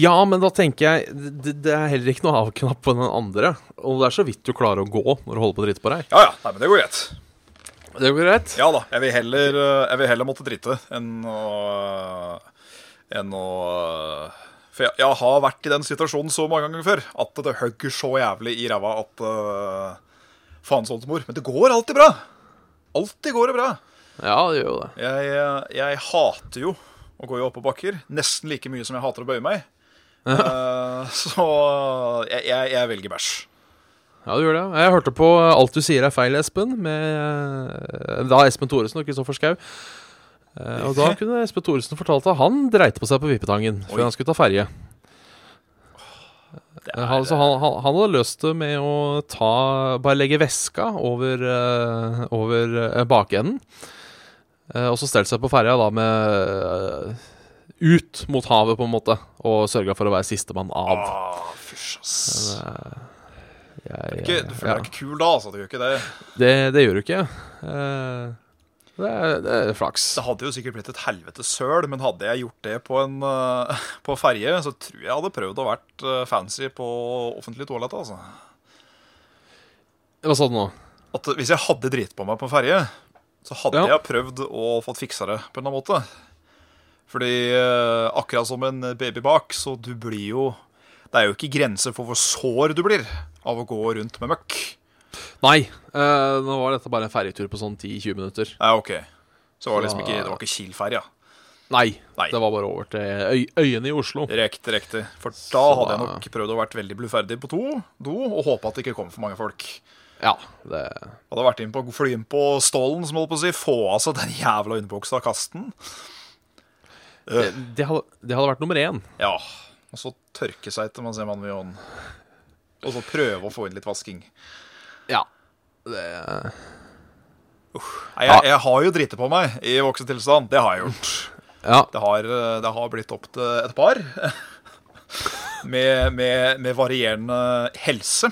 [SPEAKER 2] Ja, men da tenker jeg Det, det er heller ikke noe avknapp på den andre. Og det er så vidt du klarer å gå når du holder på å drite på deg.
[SPEAKER 3] Ja ja, nei, men det går greit.
[SPEAKER 2] Det går greit?
[SPEAKER 3] Ja da, jeg vil heller, eh, jeg vil heller måtte drite enn å Enn å For jeg, jeg har vært i den situasjonen så mange ganger før at det hugger så jævlig i ræva at uh, Faen sånn som mor. Men det går alltid bra. Alltid går det bra.
[SPEAKER 2] Ja, det gjør jo det.
[SPEAKER 3] Jeg, eh, jeg hater jo å gå i oppoverbakker. Nesten like mye som jeg hater å bøye meg. Eh, så jeg, jeg, jeg velger bæsj.
[SPEAKER 2] Ja, du gjør det. Jeg hørte på eh, Alt du sier er feil, Espen, med eh, da Espen Thoresen og Kristoffer Schau. Eh, Og da kunne Espen Thoresen fortalt at han dreit på seg på Vippetangen
[SPEAKER 3] Oi.
[SPEAKER 2] før han skulle ta ferje. Eh, Han, så han, han, han hadde løst det med å ta Bare legge veska over, eh, over eh, bakenden. Eh, og så stelt seg på ferja da med eh, ut mot havet, på en måte, og sørga for å være sistemann av. eh,
[SPEAKER 3] Ah, Fysj, ass.
[SPEAKER 2] Jeg,
[SPEAKER 3] Ikke, du føler
[SPEAKER 2] ja.
[SPEAKER 3] deg ikke kul da, altså. Du gjør ikke det.
[SPEAKER 2] Det, det gjør du ikke. Eh, det, er, det er flaks.
[SPEAKER 3] Det hadde jo sikkert blitt et helvete søl, men hadde jeg gjort det på en eh, På ferje, så tror jeg jeg hadde prøvd å vært eh, fancy på offentlig toalett, altså.
[SPEAKER 2] Hva sa du nå?
[SPEAKER 3] At hvis jeg hadde drit på meg på en ferje, så hadde
[SPEAKER 2] Ja.
[SPEAKER 3] jeg prøvd å fått fiksa det på en eller annen måte. Fordi eh, akkurat som en babybak, så du blir jo Det er jo ikke grenser for hvor sår du blir av å gå rundt med møkk.
[SPEAKER 2] Nei, eh, nå var dette bare en ferjetur på sånn 10-20 minutter.
[SPEAKER 3] Ja, OK. Så det var liksom
[SPEAKER 2] Så-
[SPEAKER 3] ikke, det var ikke Kiel-ferja.
[SPEAKER 2] Nei,
[SPEAKER 3] Nei.
[SPEAKER 2] det var bare over til øy øyene i Oslo.
[SPEAKER 3] Riktig, riktig. For da
[SPEAKER 2] Så
[SPEAKER 3] hadde jeg
[SPEAKER 2] da-
[SPEAKER 3] nok prøvd å vært veldig bluferdig på to do og håpa at det ikke kom for mange folk.
[SPEAKER 2] Ja, det
[SPEAKER 3] Hadde vært inn på fly inn på stålen, som holdt på å si. Få av seg den jævla underbuksa og kaste den.
[SPEAKER 2] det, det, hadde, det hadde vært nummer én.
[SPEAKER 3] Ja. Og så tørke seg til man ser mannen ved hånden. Og så prøve å få inn litt vasking.
[SPEAKER 2] Ja. Det,
[SPEAKER 3] Nei, jeg, jeg har jo driti på meg i voksen tilstand. Det har jeg gjort.
[SPEAKER 2] ja.
[SPEAKER 3] Det har, eh, det har blitt opp til et par. Med, med, med varierende helse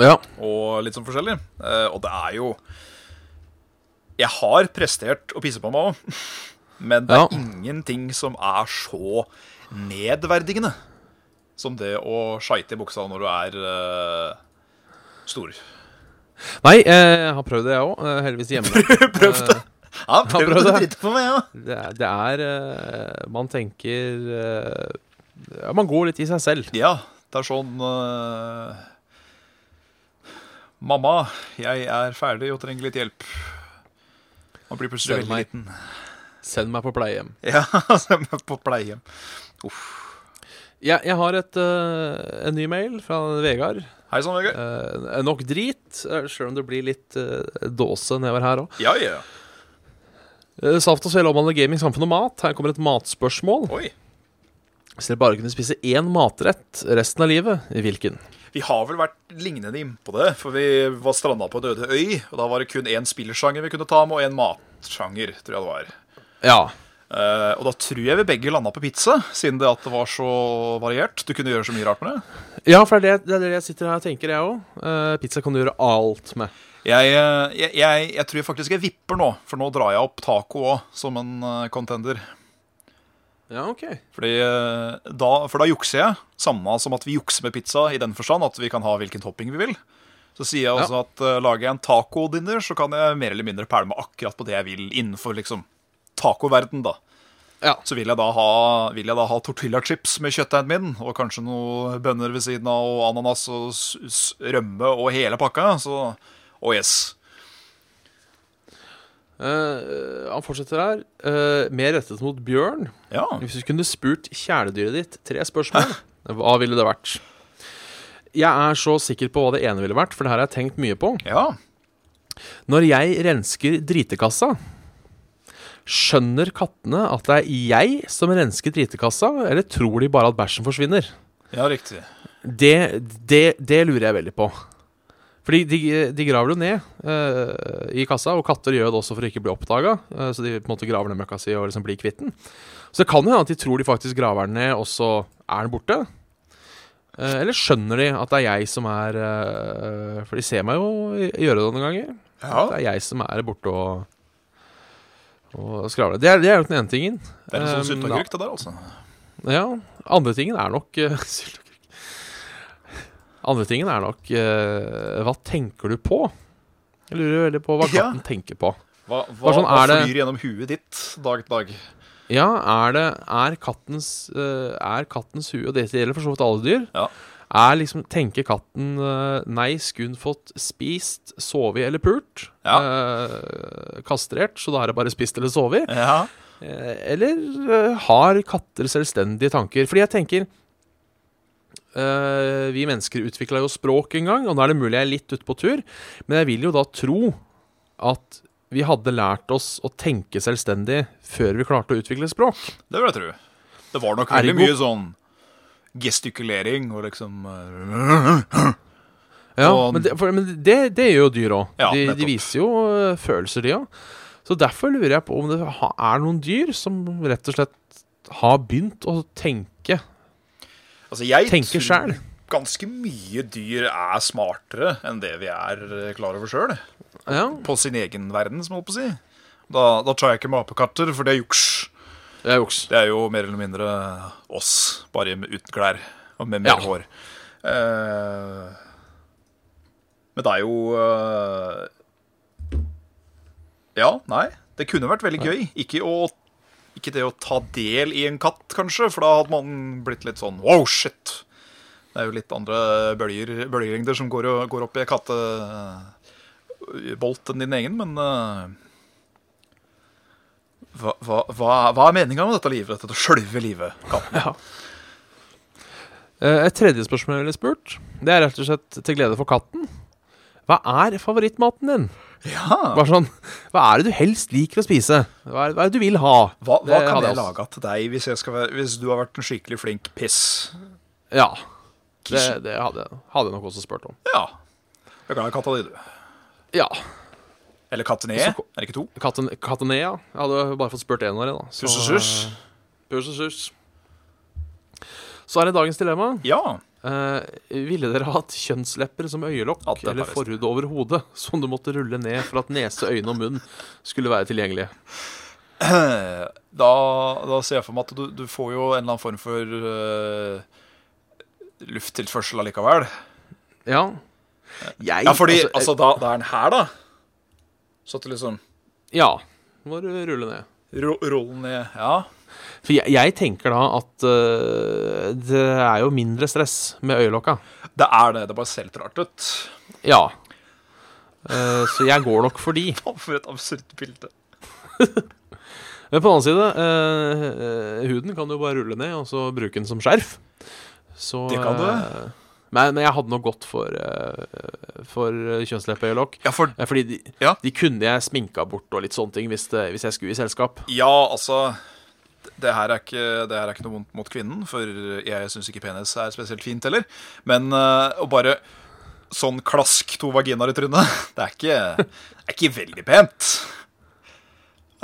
[SPEAKER 2] ja.
[SPEAKER 3] og litt sånn forskjellig. Eh, Og det er jo Jeg har prestert å pisse på meg òg, men det
[SPEAKER 2] Ja.
[SPEAKER 3] er ingenting som er så nedverdigende som det å skeite i buksa når du er eh, stor.
[SPEAKER 2] Nei, eh, jeg har prøvd det, jeg òg. Heldigvis hjemme.
[SPEAKER 3] Prøv det! Ja, prøv
[SPEAKER 2] prøv Eh,
[SPEAKER 3] å
[SPEAKER 2] det.
[SPEAKER 3] drite på meg, ja.
[SPEAKER 2] Det er, det er eh, Man tenker eh, ja, Man går litt i seg selv.
[SPEAKER 3] Ja, det er sånn eh, Mamma, jeg er ferdig og trenger litt hjelp. Man blir plutselig
[SPEAKER 2] Send
[SPEAKER 3] veldig
[SPEAKER 2] meg.
[SPEAKER 3] liten.
[SPEAKER 2] Send meg på pleiehjem.
[SPEAKER 3] Ja, altså, på pleiehjem.
[SPEAKER 2] Jeg, jeg har et, eh, en ny mail fra Vegard.
[SPEAKER 3] Hei sann, Vegard.
[SPEAKER 2] Eh, nok drit, eh, sjøl om det blir litt eh, dåse nedover her òg.
[SPEAKER 3] Ja, ja.
[SPEAKER 2] Eh, saft og svele omhandler gaming, samfunn og mat. Her kommer et matspørsmål.
[SPEAKER 3] Oi.
[SPEAKER 2] Hvis dere bare kunne spise én matrett resten av livet, hvilken?
[SPEAKER 3] Vi har vel vært lignende innpå det, for vi var stranda på en øde øy. Og da var det kun én spillersjanger vi kunne ta med, og én matsjanger, tror jeg det var.
[SPEAKER 2] Ja.
[SPEAKER 3] Eh, og da tror jeg vi begge landa på pizza, siden det at det var så variert. Du kunne gjøre så mye rart med det.
[SPEAKER 2] ja, for det er det, det er det jeg sitter her og tenker, jeg òg. pizza kan du gjøre alt med.
[SPEAKER 3] Jeg, eh, jeg, jeg, jeg tror jeg faktisk jeg vipper nå, for nå drar jeg opp taco òg, som en eh, contender.
[SPEAKER 2] Ja, ok.
[SPEAKER 3] Fordi, eh, da, for da jukser jeg, samme som at vi jukser med pizza i den forstand at vi kan ha hvilken topping vi vil. Så sier jeg også at eh, lager jeg en tacodinner, så kan jeg mer eller mindre pælme akkurat på det jeg vil innenfor liksom tacoverden, da.
[SPEAKER 2] Ja.
[SPEAKER 3] Så vil jeg da ha, vil jeg da ha tortillachips med kjøttdeigen min, og kanskje noe bønner ved siden av, og ananas og s s rømme og hele pakka, så Oh yes.
[SPEAKER 2] Eh, han fortsetter her. Eh, mer rettet mot bjørn.
[SPEAKER 3] Ja.
[SPEAKER 2] Hvis du kunne spurt kjæledyret ditt tre spørsmål, hva ville det vært? Jeg er så sikker på hva det ene ville vært, for det her har jeg tenkt mye på.
[SPEAKER 3] ja.
[SPEAKER 2] Når jeg rensker dritekassa, skjønner kattene at det er jeg som rensker dritekassa, eller tror de bare at bæsjen forsvinner?
[SPEAKER 3] Ja, riktig.
[SPEAKER 2] Det, det, det lurer jeg veldig på. Fordi de, de graver det jo ned eh, i kassa, og katter gjør det også for å ikke bli oppdaga. så de på en måte graver ned møkka si og liksom blir kvitt den. Så det kan jo hende at de tror de faktisk graver den ned, og så er den borte. Eh, eller skjønner de at det er jeg som er eh, For de ser meg jo gjøre det noen ganger.
[SPEAKER 3] Ja.
[SPEAKER 2] Det er jeg som er borte og, og skravler. Det er, det er jo den ene tingen.
[SPEAKER 3] Det er litt sånn
[SPEAKER 2] Um,
[SPEAKER 3] sylteagurk, det der, altså.
[SPEAKER 2] Ja, andre tingen er nok eh, sylt og agurk. Andre tingen er nok eh, Hva tenker du på? Jeg lurer veldig på hva
[SPEAKER 3] Ja.
[SPEAKER 2] katten tenker på.
[SPEAKER 3] Hva, hva,
[SPEAKER 2] Hva sånn
[SPEAKER 3] hva
[SPEAKER 2] er det-
[SPEAKER 3] flyr gjennom huet ditt dag til dag?
[SPEAKER 2] Ja, er det Er kattens eh, Er kattens hue, og det gjelder for så vidt alle dyr,
[SPEAKER 3] Ja.
[SPEAKER 2] er liksom Tenker katten eh, nei, skulle hun fått spist, sovet eller pult? Eh, kastrert, så da er det bare spist eller sovet?
[SPEAKER 3] Ja.
[SPEAKER 2] Eh, Eller eh, har katter selvstendige tanker? Fordi jeg tenker eh, Vi mennesker utvikla jo språk en gang, og nå er det mulig jeg er litt ute på tur, men jeg vil jo da tro at vi hadde lært oss å tenke selvstendig før vi klarte å utvikle språk.
[SPEAKER 3] Det vil jeg tro. Det var nok
[SPEAKER 2] Ergo-
[SPEAKER 3] veldig mye sånn gestikulering og liksom eh,
[SPEAKER 2] Ja,
[SPEAKER 3] Og-
[SPEAKER 2] Men, det, for, men det, det gjør jo dyr òg.
[SPEAKER 3] Ja,
[SPEAKER 2] de,
[SPEAKER 3] nettopp.
[SPEAKER 2] de viser jo eh, følelser, de òg. Så derfor lurer jeg på om det ha- er noen dyr som rett og slett har begynt å tenke.
[SPEAKER 3] Altså, jeg
[SPEAKER 2] Tenker
[SPEAKER 3] tror
[SPEAKER 2] selv.
[SPEAKER 3] ganske mye dyr er smartere enn det vi er eh, klar over sjøl.
[SPEAKER 2] Ja,
[SPEAKER 3] På sin egen verden, som jeg holdt på å si. Da, da tar jeg ikke med apekatter, for det er juks.
[SPEAKER 2] det er juks.
[SPEAKER 3] Det er jo mer eller mindre oss, bare med- uten klær og med
[SPEAKER 2] Ja.
[SPEAKER 3] mer hår. Eh, men Men det er jo øh, Ja, nei. Det kunne vært veldig gøy. Ikke, å, ikke det å ta del i en katt, kanskje, for da hadde man blitt litt sånn wow, shit. Det er jo litt andre bølger, bølgelengder som går, og, går opp i kattebolt enn din egen, men øh, hva, hva, hva hva er meninga med dette livet? Dette sjølve livet? Katten.
[SPEAKER 2] Ja. Eh, Et tredje spørsmål jeg ville spurt, det er rett og slett til glede for katten. Hva er favorittmaten din?
[SPEAKER 3] Ja.
[SPEAKER 2] Bare sånn, Hva er det du helst liker å spise? Hva er, hva er det du vil ha?
[SPEAKER 3] Hva, hva
[SPEAKER 2] Det
[SPEAKER 3] kan
[SPEAKER 2] hadde
[SPEAKER 3] Eh, jeg
[SPEAKER 2] også.
[SPEAKER 3] altså? lage til deg hvis, jeg skal være, hvis du har vært en skikkelig flink piss?
[SPEAKER 2] Ja. Det,
[SPEAKER 3] Kishen.
[SPEAKER 2] det hadde, hadde jeg nok også spurt om.
[SPEAKER 3] Ja. Du er glad i katta di, du.
[SPEAKER 2] Ja.
[SPEAKER 3] Eller katten E.
[SPEAKER 2] Så
[SPEAKER 3] Er
[SPEAKER 2] ko-
[SPEAKER 3] det ikke to?
[SPEAKER 2] Katten, Katanea. Jeg hadde bare fått spurt én av dem, da. Så,
[SPEAKER 3] Sus, sus, sus.
[SPEAKER 2] Pus og sus. Så er det dagens dilemma.
[SPEAKER 3] Ja.
[SPEAKER 2] Eh, ville dere hatt kjønnslepper som øyelokk
[SPEAKER 3] Alt dette
[SPEAKER 2] eller
[SPEAKER 3] visste.
[SPEAKER 2] forhud over hodet som du måtte rulle ned for at nese, øyne og munn skulle være tilgjengelige?
[SPEAKER 3] Da, da ser jeg for meg at du, du får jo en eller annen form for øh, lufttilførsel allikevel.
[SPEAKER 2] Ja. Jeg
[SPEAKER 3] Ja, fordi
[SPEAKER 2] altså,
[SPEAKER 3] altså, da, da er den her, da. Så at du liksom
[SPEAKER 2] eh, Ja. Må du rulle ned.
[SPEAKER 3] ro, Roll den ned. Ja.
[SPEAKER 2] For jeg, jeg tenker da at eh, det er jo mindre stress med øyelokka.
[SPEAKER 3] Det er det. Det bare ser litt rart ut.
[SPEAKER 2] Ja. Eh, så jeg går nok for de.
[SPEAKER 3] Å, For et absurd bilde.
[SPEAKER 2] Men på den annen side, eh, eh, huden kan du jo bare rulle ned og så bruke den som skjerf. Så,
[SPEAKER 3] Det kan du.
[SPEAKER 2] eh, men, men jeg hadde nok gått for, eh, for eh, kjønnsleppeøyelokk.
[SPEAKER 3] Ja, for
[SPEAKER 2] Eh, Fordi de,
[SPEAKER 3] Ja.
[SPEAKER 2] de kunne jeg sminka bort og litt sånne ting hvis, det, hvis jeg skulle i selskap.
[SPEAKER 3] Ja, altså det her, er ikke, det her er ikke noe vondt mot kvinnen, for jeg syns ikke penis er spesielt fint heller. Men eh, å bare sånn klask to vaginaer i trynet, det er ikke, det er ikke veldig pent.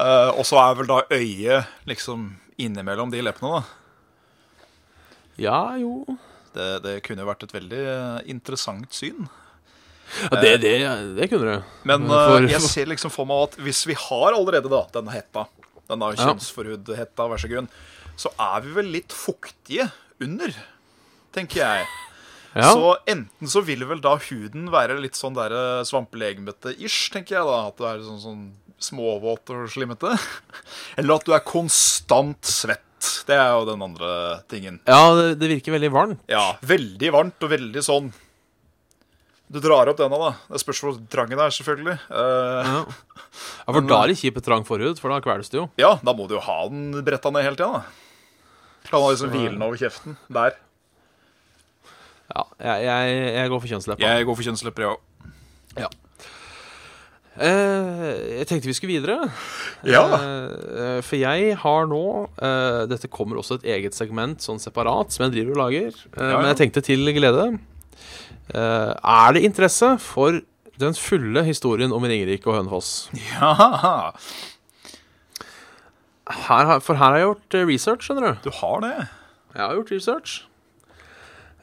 [SPEAKER 3] Eh, og så er vel da øyet liksom innimellom de leppene, da.
[SPEAKER 2] Ja, jo
[SPEAKER 3] Det, det kunne jo vært et veldig eh, interessant syn.
[SPEAKER 2] ja, det, det, det kunne du.
[SPEAKER 3] Eh. Men
[SPEAKER 2] For-
[SPEAKER 3] eh, jeg ser liksom for meg at hvis vi har allerede da denne hetta, denne
[SPEAKER 2] Ja.
[SPEAKER 3] kjønnsforhudhetta, vær så grunn, så er vi vel litt fuktige under, tenker jeg.
[SPEAKER 2] Ja,
[SPEAKER 3] Så enten så vil vel da huden være litt sånn der eh, svampelegemete-ish, tenker jeg da. At du er sånn, sånn småvåt og slimmete. Eller at du er konstant svett. Det er jo den andre tingen.
[SPEAKER 2] ja det, det virker veldig varmt.
[SPEAKER 3] Ja, veldig varmt og veldig sånn Du drar opp denne, da. Det spørs hvor trang den er, selvfølgelig. Eh,
[SPEAKER 2] Ja. ja, For da er det kjipt trang forhud, for da kveles du jo.
[SPEAKER 3] Ja, da må du jo ha den bretta ned hele tida, da. Kan ha liksom hvilen over kjeften. Der.
[SPEAKER 2] Ja, jeg, jeg, jeg går for kjønnsleppa.
[SPEAKER 3] Jeg går for kjønnslepper, jeg òg.
[SPEAKER 2] Ja. Eh, jeg tenkte vi skulle videre.
[SPEAKER 3] Ja.
[SPEAKER 2] Eh, for jeg har nå eh, Dette kommer også et eget segment sånn separat, som jeg driver og lager. Eh,
[SPEAKER 3] ja.
[SPEAKER 2] Men jeg tenkte til glede eh, Er det interesse for den fulle historien om Ringerike og Hønefoss?
[SPEAKER 3] ja.
[SPEAKER 2] Her, har- for her har jeg gjort eh, research, skjønner du.
[SPEAKER 3] Du har det.
[SPEAKER 2] Jeg har gjort research.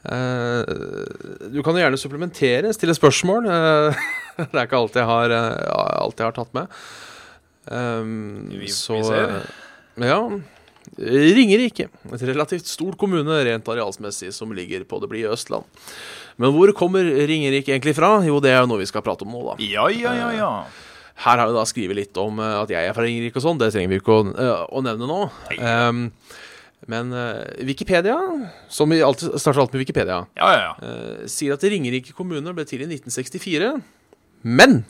[SPEAKER 2] Eh, du kan jo gjerne supplementere, stille spørsmål. eh, det er ikke alt jeg har, eh, alt jeg har tatt med. Um,
[SPEAKER 3] Vi- vi
[SPEAKER 2] så
[SPEAKER 3] ser.
[SPEAKER 2] eh, Ja. Ringerike, et relativt stor kommune rent arealsmessig som ligger på det blide Østland. Men hvor kommer Ringerike egentlig fra? Jo, det er jo noe vi skal prate om nå, da.
[SPEAKER 3] Ja, ja, ja, ja.
[SPEAKER 2] Her har vi da skrevet litt om eh, at jeg er fra Ringerike og sånn. Det trenger vi ikke å, eh, å nevne nå. Ehm, men eh, Wikipedia, som vi alltid starter alt med Wikipedia,
[SPEAKER 3] Ja, ja, ja.
[SPEAKER 2] eh, sier at Ringerike kommune ble til i 1964. Men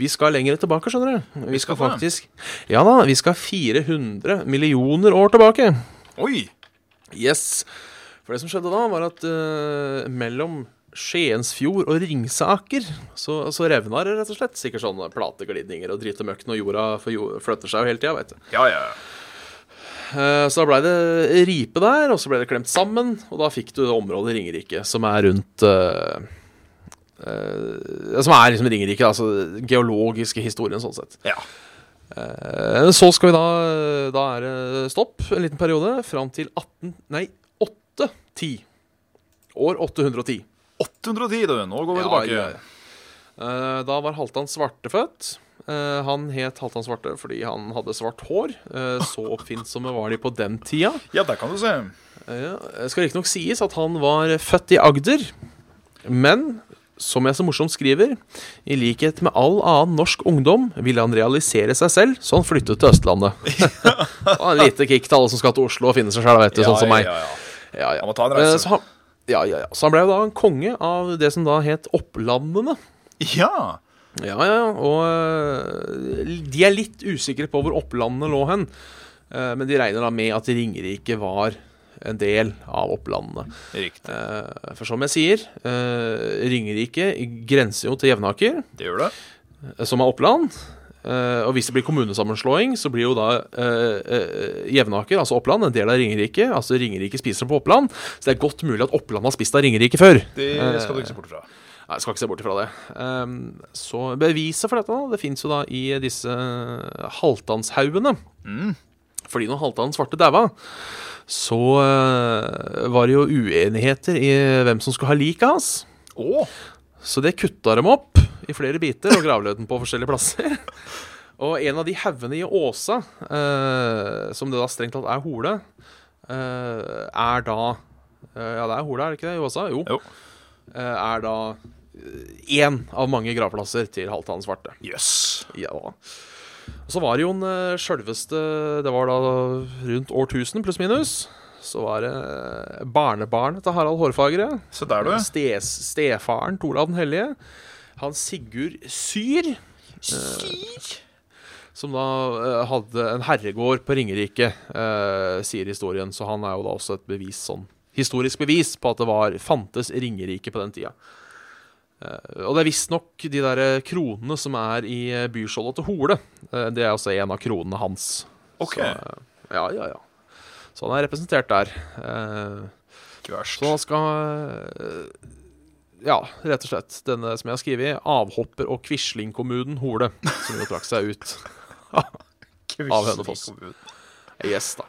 [SPEAKER 2] vi skal lenger tilbake, skjønner du. Vi skal
[SPEAKER 3] skal det.
[SPEAKER 2] faktisk Ja da, vi skal 400 millioner år tilbake.
[SPEAKER 3] Oi.
[SPEAKER 2] Yes. For det som skjedde da, var at eh, mellom Skiensfjord og Ringsaker så, så revna det, rett og slett. Sikkert sånne plateglidninger og drit og møkk når jorda for jo- flytter seg jo hele tida, veit du.
[SPEAKER 3] Ja, ja.
[SPEAKER 2] Eh, så da blei det ripe der, og så ble det klemt sammen, og da fikk du det området Ringerike, som er rundt eh, eh, Som er liksom Ringerike, altså den geologiske historien, sånn sett.
[SPEAKER 3] ja.
[SPEAKER 2] Eh, Så skal vi da Da er det stopp en liten periode fram til 18 Nei, 810. År 810.
[SPEAKER 3] 810, du. Nå går vi tilbake.
[SPEAKER 2] Ja, ja, ja. Eh, Da var Halvdan Svarte født. Eh, Han het Halvdan Svarte fordi han hadde svart hår. Eh, Så oppfinnsomme var de på den tida.
[SPEAKER 3] Ja, der kan du se.
[SPEAKER 2] Eh, Det skal riktignok sies at han var født i Agder, men Som jeg så morsomt skriver, i likhet med all annen norsk ungdom ville han realisere seg selv, så han flyttet til Østlandet. Og en lite kick til alle som skal til Oslo og finne seg sjæl, vet du, sånn som meg.
[SPEAKER 3] Ja, ja, ja.
[SPEAKER 2] Ja, ja.
[SPEAKER 3] Han må ta en reise.
[SPEAKER 2] Eh, Så han, ja, ja, ja. Så han ble jo da en konge av det som da het Opplandene.
[SPEAKER 3] Ja.
[SPEAKER 2] Ja, ja, ja. Og eh, de er litt usikre på hvor Opplandene lå hen. Eh, Men de regner da med at Ringerike var en del av Opplandene.
[SPEAKER 3] Riktig.
[SPEAKER 2] Eh, For som jeg sier, eh, Ringerike grenser jo til Jevnaker,
[SPEAKER 3] Det gjør det.
[SPEAKER 2] eh, som er Oppland. Eh, Og hvis det blir kommunesammenslåing, så blir jo da eh, eh, Jevnaker, altså Oppland, en del av Ringerike. Altså Ringerike spiser på Oppland, så det er godt mulig at Oppland har spist av Ringerike før.
[SPEAKER 3] Det skal du ikke se bort fra.
[SPEAKER 2] Nei, jeg skal ikke se bort ifra det. Ehm, så beviset for dette, da, det fins jo da i disse Halvdannshaugene.
[SPEAKER 3] Mm.
[SPEAKER 2] Fordi når Halvdan svarte daua, så eh, var det jo uenigheter i hvem som skulle ha liket hans.
[SPEAKER 3] Å!
[SPEAKER 2] Så det kutta dem opp i flere biter og gravlød den på forskjellige plasser. Og en av de haugene i Åsa, eh, som det da strengt tatt er Hole, eh, er da eh, Ja, det er Hole, er det ikke det? I Åsa? Jo.
[SPEAKER 3] Jo.
[SPEAKER 2] Eh, er da én av mange gravplasser til Halvdan Svarte.
[SPEAKER 3] Jøss.
[SPEAKER 2] Ja. Og så var det jo en eh, sjølveste Det var da rundt årtusen, pluss minus. Så var det eh, barnebarnet til Harald Hårfagre.
[SPEAKER 3] Se der, du.
[SPEAKER 2] Stes, stefaren til Olav den hellige. Han Sigurd Syr,
[SPEAKER 3] Eh.
[SPEAKER 2] som da eh, hadde en herregård på Ringerike, eh, sier historien. Så han er jo da også et bevis, sånn historisk bevis på at det var, fantes Ringerike på den tida. Eh, og det er visstnok de der eh, kronene som er i eh, byskjoldet til Hole. eh, det er også en av kronene hans.
[SPEAKER 3] Ok.
[SPEAKER 2] Så, eh, ja, ja, ja. Så han er representert der. Eh,
[SPEAKER 3] Ikke verst.
[SPEAKER 2] så han skal eh, Ja, rett og slett. Denne som jeg har skrevet, avhopper- og Quislingkommunen Hole, som jo trakk seg ut. av Hønefoss. Yes, da.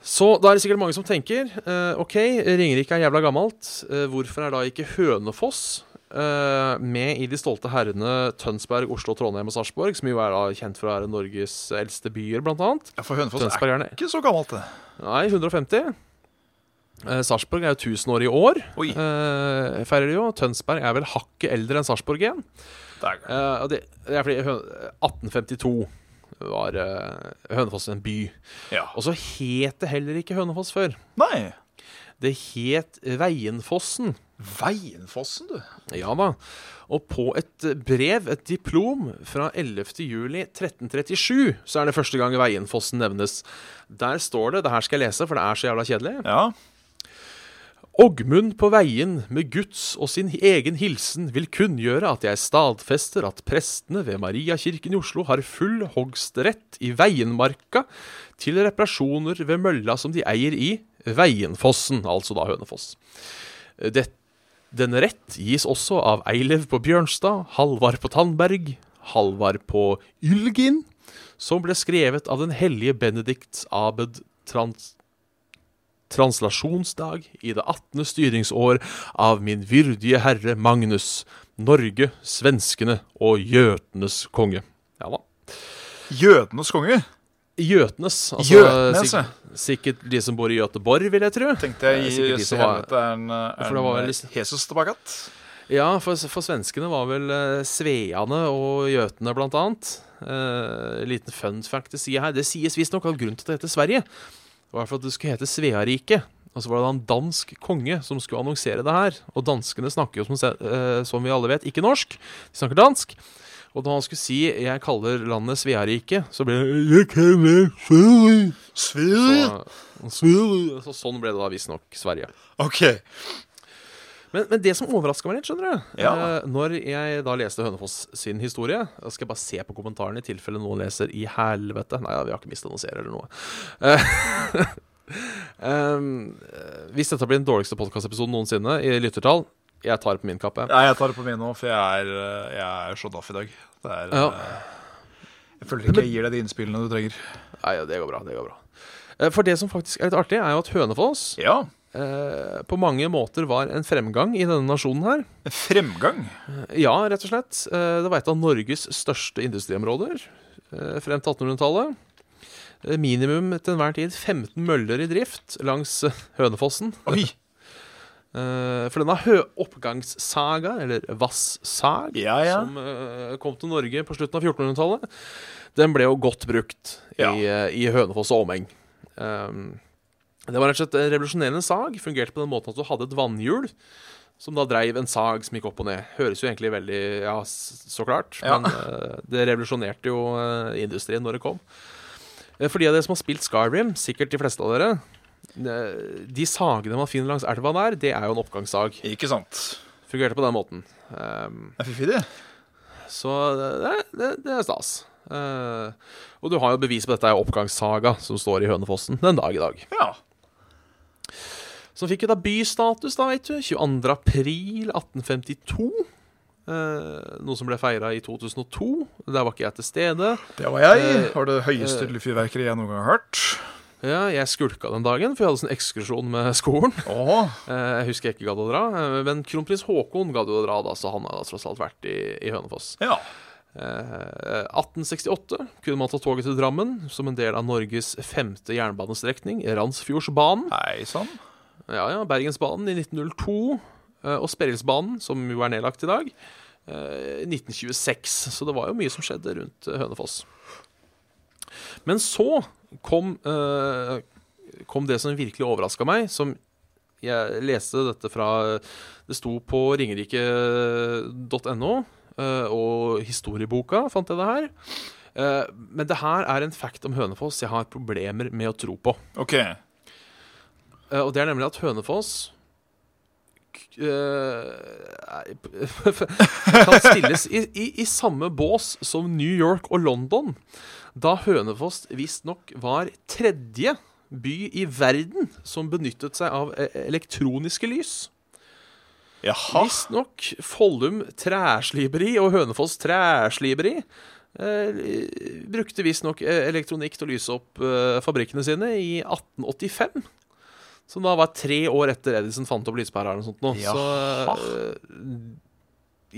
[SPEAKER 2] Så da er det sikkert mange som tenker eh, OK, Ringerike er jævla gammelt. eh, hvorfor er da ikke Hønefoss eh, med i de stolte herrene Tønsberg, Oslo, Trondheim og Sarpsborg, som jo er da kjent for å være Norges eldste byer, blant annet?
[SPEAKER 3] Ja, for Hønefoss er
[SPEAKER 2] Tønsberg er ned.
[SPEAKER 3] ikke så gammelt, det.
[SPEAKER 2] Nei, 150. Eh, Sarpsborg er jo 1000 år i år.
[SPEAKER 3] Oi.
[SPEAKER 2] Eh, feirer det jo. Tønsberg er vel hakket eldre enn Sarpsborg igjen.
[SPEAKER 3] Der.
[SPEAKER 2] Eh, og det, det er fordi Hø- 1852 var eh, Hønefoss en by.
[SPEAKER 3] Ja.
[SPEAKER 2] Og så het det heller ikke Hønefoss før.
[SPEAKER 3] Nei.
[SPEAKER 2] Det het Veienfossen.
[SPEAKER 3] Veienfossen, du.
[SPEAKER 2] Ja da. Og på et brev, et diplom, fra 11. juli 1337, så er det første gang Veienfossen nevnes. Der står det, det her skal jeg lese, for det er så jævla kjedelig.
[SPEAKER 3] Ja.
[SPEAKER 2] Ågmund på veien med Guds og sin egen hilsen vil kunngjøre at jeg stadfester at prestene ved Mariakirken i Oslo har full hogstrett i Veienmarka til reparasjoner ved mølla som de eier i Veienfossen, altså da Hønefoss. Det, denne rett gis også av Eilev på Bjørnstad, Halvard på Tandberg, Halvard på Ylgin, som ble skrevet av den hellige Benedikt Abed Trans translasjonsdag i det 18. styringsår av min vyrdige herre Magnus, Norge, svenskene og gjøtenes konge. Ja da.
[SPEAKER 3] Jødenes konge.
[SPEAKER 2] Gjøtenes. Altså,
[SPEAKER 3] Gjøtenes, ja.
[SPEAKER 2] sikk- sikkert de som bor i Göteborg, vil jeg tro.
[SPEAKER 3] Tenkte
[SPEAKER 2] Det er
[SPEAKER 3] jeg
[SPEAKER 2] sikkert
[SPEAKER 3] i
[SPEAKER 2] de
[SPEAKER 3] så
[SPEAKER 2] som
[SPEAKER 3] helvete er en, er
[SPEAKER 2] for det var vel
[SPEAKER 3] en
[SPEAKER 2] liksom-
[SPEAKER 3] Jesus tilbake att.
[SPEAKER 2] Ja, for, for svenskene var vel eh, sveene og gjøtene, blant annet. Eh, liten fun fact det sier her. Det sies visstnok at grunnen til at det heter Sverige, var for at det skulle hete Sveariket. Og så var det da en dansk konge som skulle annonsere det her. Og danskene snakker jo, som, se- eh, som vi alle vet, ikke norsk. De snakker dansk. Og da han skulle si 'jeg kaller landet Sveariket', så ble det 'jeg kaller Sverige'.
[SPEAKER 3] Svir!
[SPEAKER 2] Og- Sverige. Så sånn ble det da visstnok Sverige.
[SPEAKER 3] OK.
[SPEAKER 2] Men, men det som overraska meg litt, skjønner du
[SPEAKER 3] Ja.
[SPEAKER 2] eh, Når jeg da leste Hønefoss sin historie Jeg skal bare se på kommentarene i tilfelle noen leser i helvete. Nei, ja, vi har ikke mista noen seere eller noe. Eh, em, eh, hvis dette blir den dårligste podkastepisoden noensinne i lyttertall, jeg tar det på min kappe.
[SPEAKER 3] Nei, jeg tar det på min nå, for jeg er, eh, jeg er så daff i dag. Det er
[SPEAKER 2] Ja.
[SPEAKER 3] eh, Jeg føler ikke jeg gir deg de innspillene du trenger.
[SPEAKER 2] Nei, ja, det går bra. det går bra Eh, For det som faktisk er litt artig, er jo at Hønefoss
[SPEAKER 3] Ja.
[SPEAKER 2] eh, på mange måter var en fremgang i denne nasjonen her.
[SPEAKER 3] Fremgang.
[SPEAKER 2] Ja, rett og slett. Eh, Det var et av Norges største industriområder eh, frem til 1800-tallet. Eh, Minimum til enhver tid 15 møller i drift langs eh, Hønefossen.
[SPEAKER 3] Oi.
[SPEAKER 2] Eh, for denne hø oppgangssagaen, eller Vassag,
[SPEAKER 3] Ja, ja.
[SPEAKER 2] som eh, kom til Norge på slutten av 1400-tallet, den ble jo godt brukt i,
[SPEAKER 3] Ja.
[SPEAKER 2] eh, i Hønefoss og omheng. Um, det var rett og slett en revolusjonerende sag. Fungerte på den måten at du hadde et vannhjul som da dreiv en sag som gikk opp og ned. Høres jo egentlig veldig Ja, s- så klart.
[SPEAKER 3] Ja.
[SPEAKER 2] Men eh, det revolusjonerte jo eh, industrien når det kom. Eh, For de av dere som har spilt Skyrim, sikkert de fleste av dere, eh, de sagene man finner langs elva der, det er jo en oppgangssag.
[SPEAKER 3] Ikke sant.
[SPEAKER 2] Fungerte på den måten. Um,
[SPEAKER 3] Det er fiffig, det.
[SPEAKER 2] så det, det, det er stas. Eh, og du har jo bevis på dette er jo oppgangssaga som står i Hønefossen den dag i dag.
[SPEAKER 3] Ja.
[SPEAKER 2] Som fikk jo da bystatus, da, vet du. 22. april 1852. Eh, noe som ble feira i 2002. Der var ikke jeg til stede.
[SPEAKER 3] Det var jeg.
[SPEAKER 2] Eh,
[SPEAKER 3] Har det høyeste
[SPEAKER 2] eh,
[SPEAKER 3] fyrverkeriet jeg noen gang har hørt.
[SPEAKER 2] Ja, jeg skulka den dagen, for jeg hadde sånn ekskursjon med skolen.
[SPEAKER 3] Åh,
[SPEAKER 2] Eh, jeg husker jeg ikke gadd å dra, eh, men kronprins Haakon gadd jo å dra, da, så han har da tross alt vært i, i Hønefoss.
[SPEAKER 3] ja.
[SPEAKER 2] Eh, 1868 kunne man ta toget til Drammen som en del av Norges femte jernbanestrekning, Randsfjordsbanen.
[SPEAKER 3] Nei sann.
[SPEAKER 2] Ja, ja. Bergensbanen i 1902 eh, og Sperrilsbanen, som jo er nedlagt i dag, eh, i 1926. Så det var jo mye som skjedde rundt eh, Hønefoss. Men så kom, eh, kom det som virkelig overraska meg, som jeg leste dette fra Det sto på ringerike.no, eh, og historieboka fant jeg det her. Eh, Men det her er en fact om Hønefoss jeg har problemer med å tro på.
[SPEAKER 3] OK.
[SPEAKER 2] Eh, Og det er nemlig at Hønefoss k- eh, kan stilles i, i, i samme bås som New York og London, da Hønefoss visstnok var tredje by i verden som benyttet seg av eh, elektroniske lys.
[SPEAKER 3] Jaha.
[SPEAKER 2] Visstnok Follum træsliberi og Hønefoss træsliberi eh, brukte visstnok eh, elektronikk til å lyse opp eh, fabrikkene sine i 1885. Som da var tre år etter Edison fant opp lyspæra eller noe sånt. Nå. Så eh,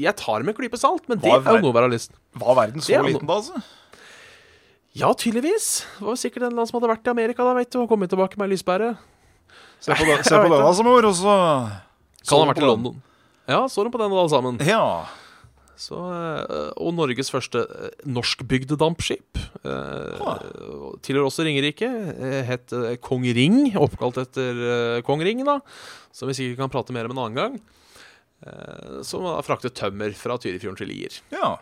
[SPEAKER 2] jeg tar det med en klype salt, men det
[SPEAKER 3] Hva er
[SPEAKER 2] er
[SPEAKER 3] ver-
[SPEAKER 2] jo noe å være listen.
[SPEAKER 3] Var verden
[SPEAKER 2] Det
[SPEAKER 3] så
[SPEAKER 2] er noe-
[SPEAKER 3] liten da, altså?
[SPEAKER 2] Ja, tydeligvis. Det var jo sikkert en eller annen som hadde vært i Amerika da, vet du, og kommet tilbake med lyspære.
[SPEAKER 3] Se på, den, se på denne som ord, og så
[SPEAKER 2] Kan ha
[SPEAKER 3] så
[SPEAKER 2] vært
[SPEAKER 3] på
[SPEAKER 2] i
[SPEAKER 3] den.
[SPEAKER 2] London. Ja, så de på den alle sammen.
[SPEAKER 3] Ja.
[SPEAKER 2] Så, eh, og Norges første eh, norskbygde dampskip. Eh,
[SPEAKER 3] Ah.
[SPEAKER 2] og Tilhører også Ringerike. eh, Het eh, Kong Ring, oppkalt etter eh, kong Ring, da. Som vi sikkert kan prate mer om en annen gang. Eh, Som har fraktet tømmer fra Tyrifjorden til Lier.
[SPEAKER 3] ja.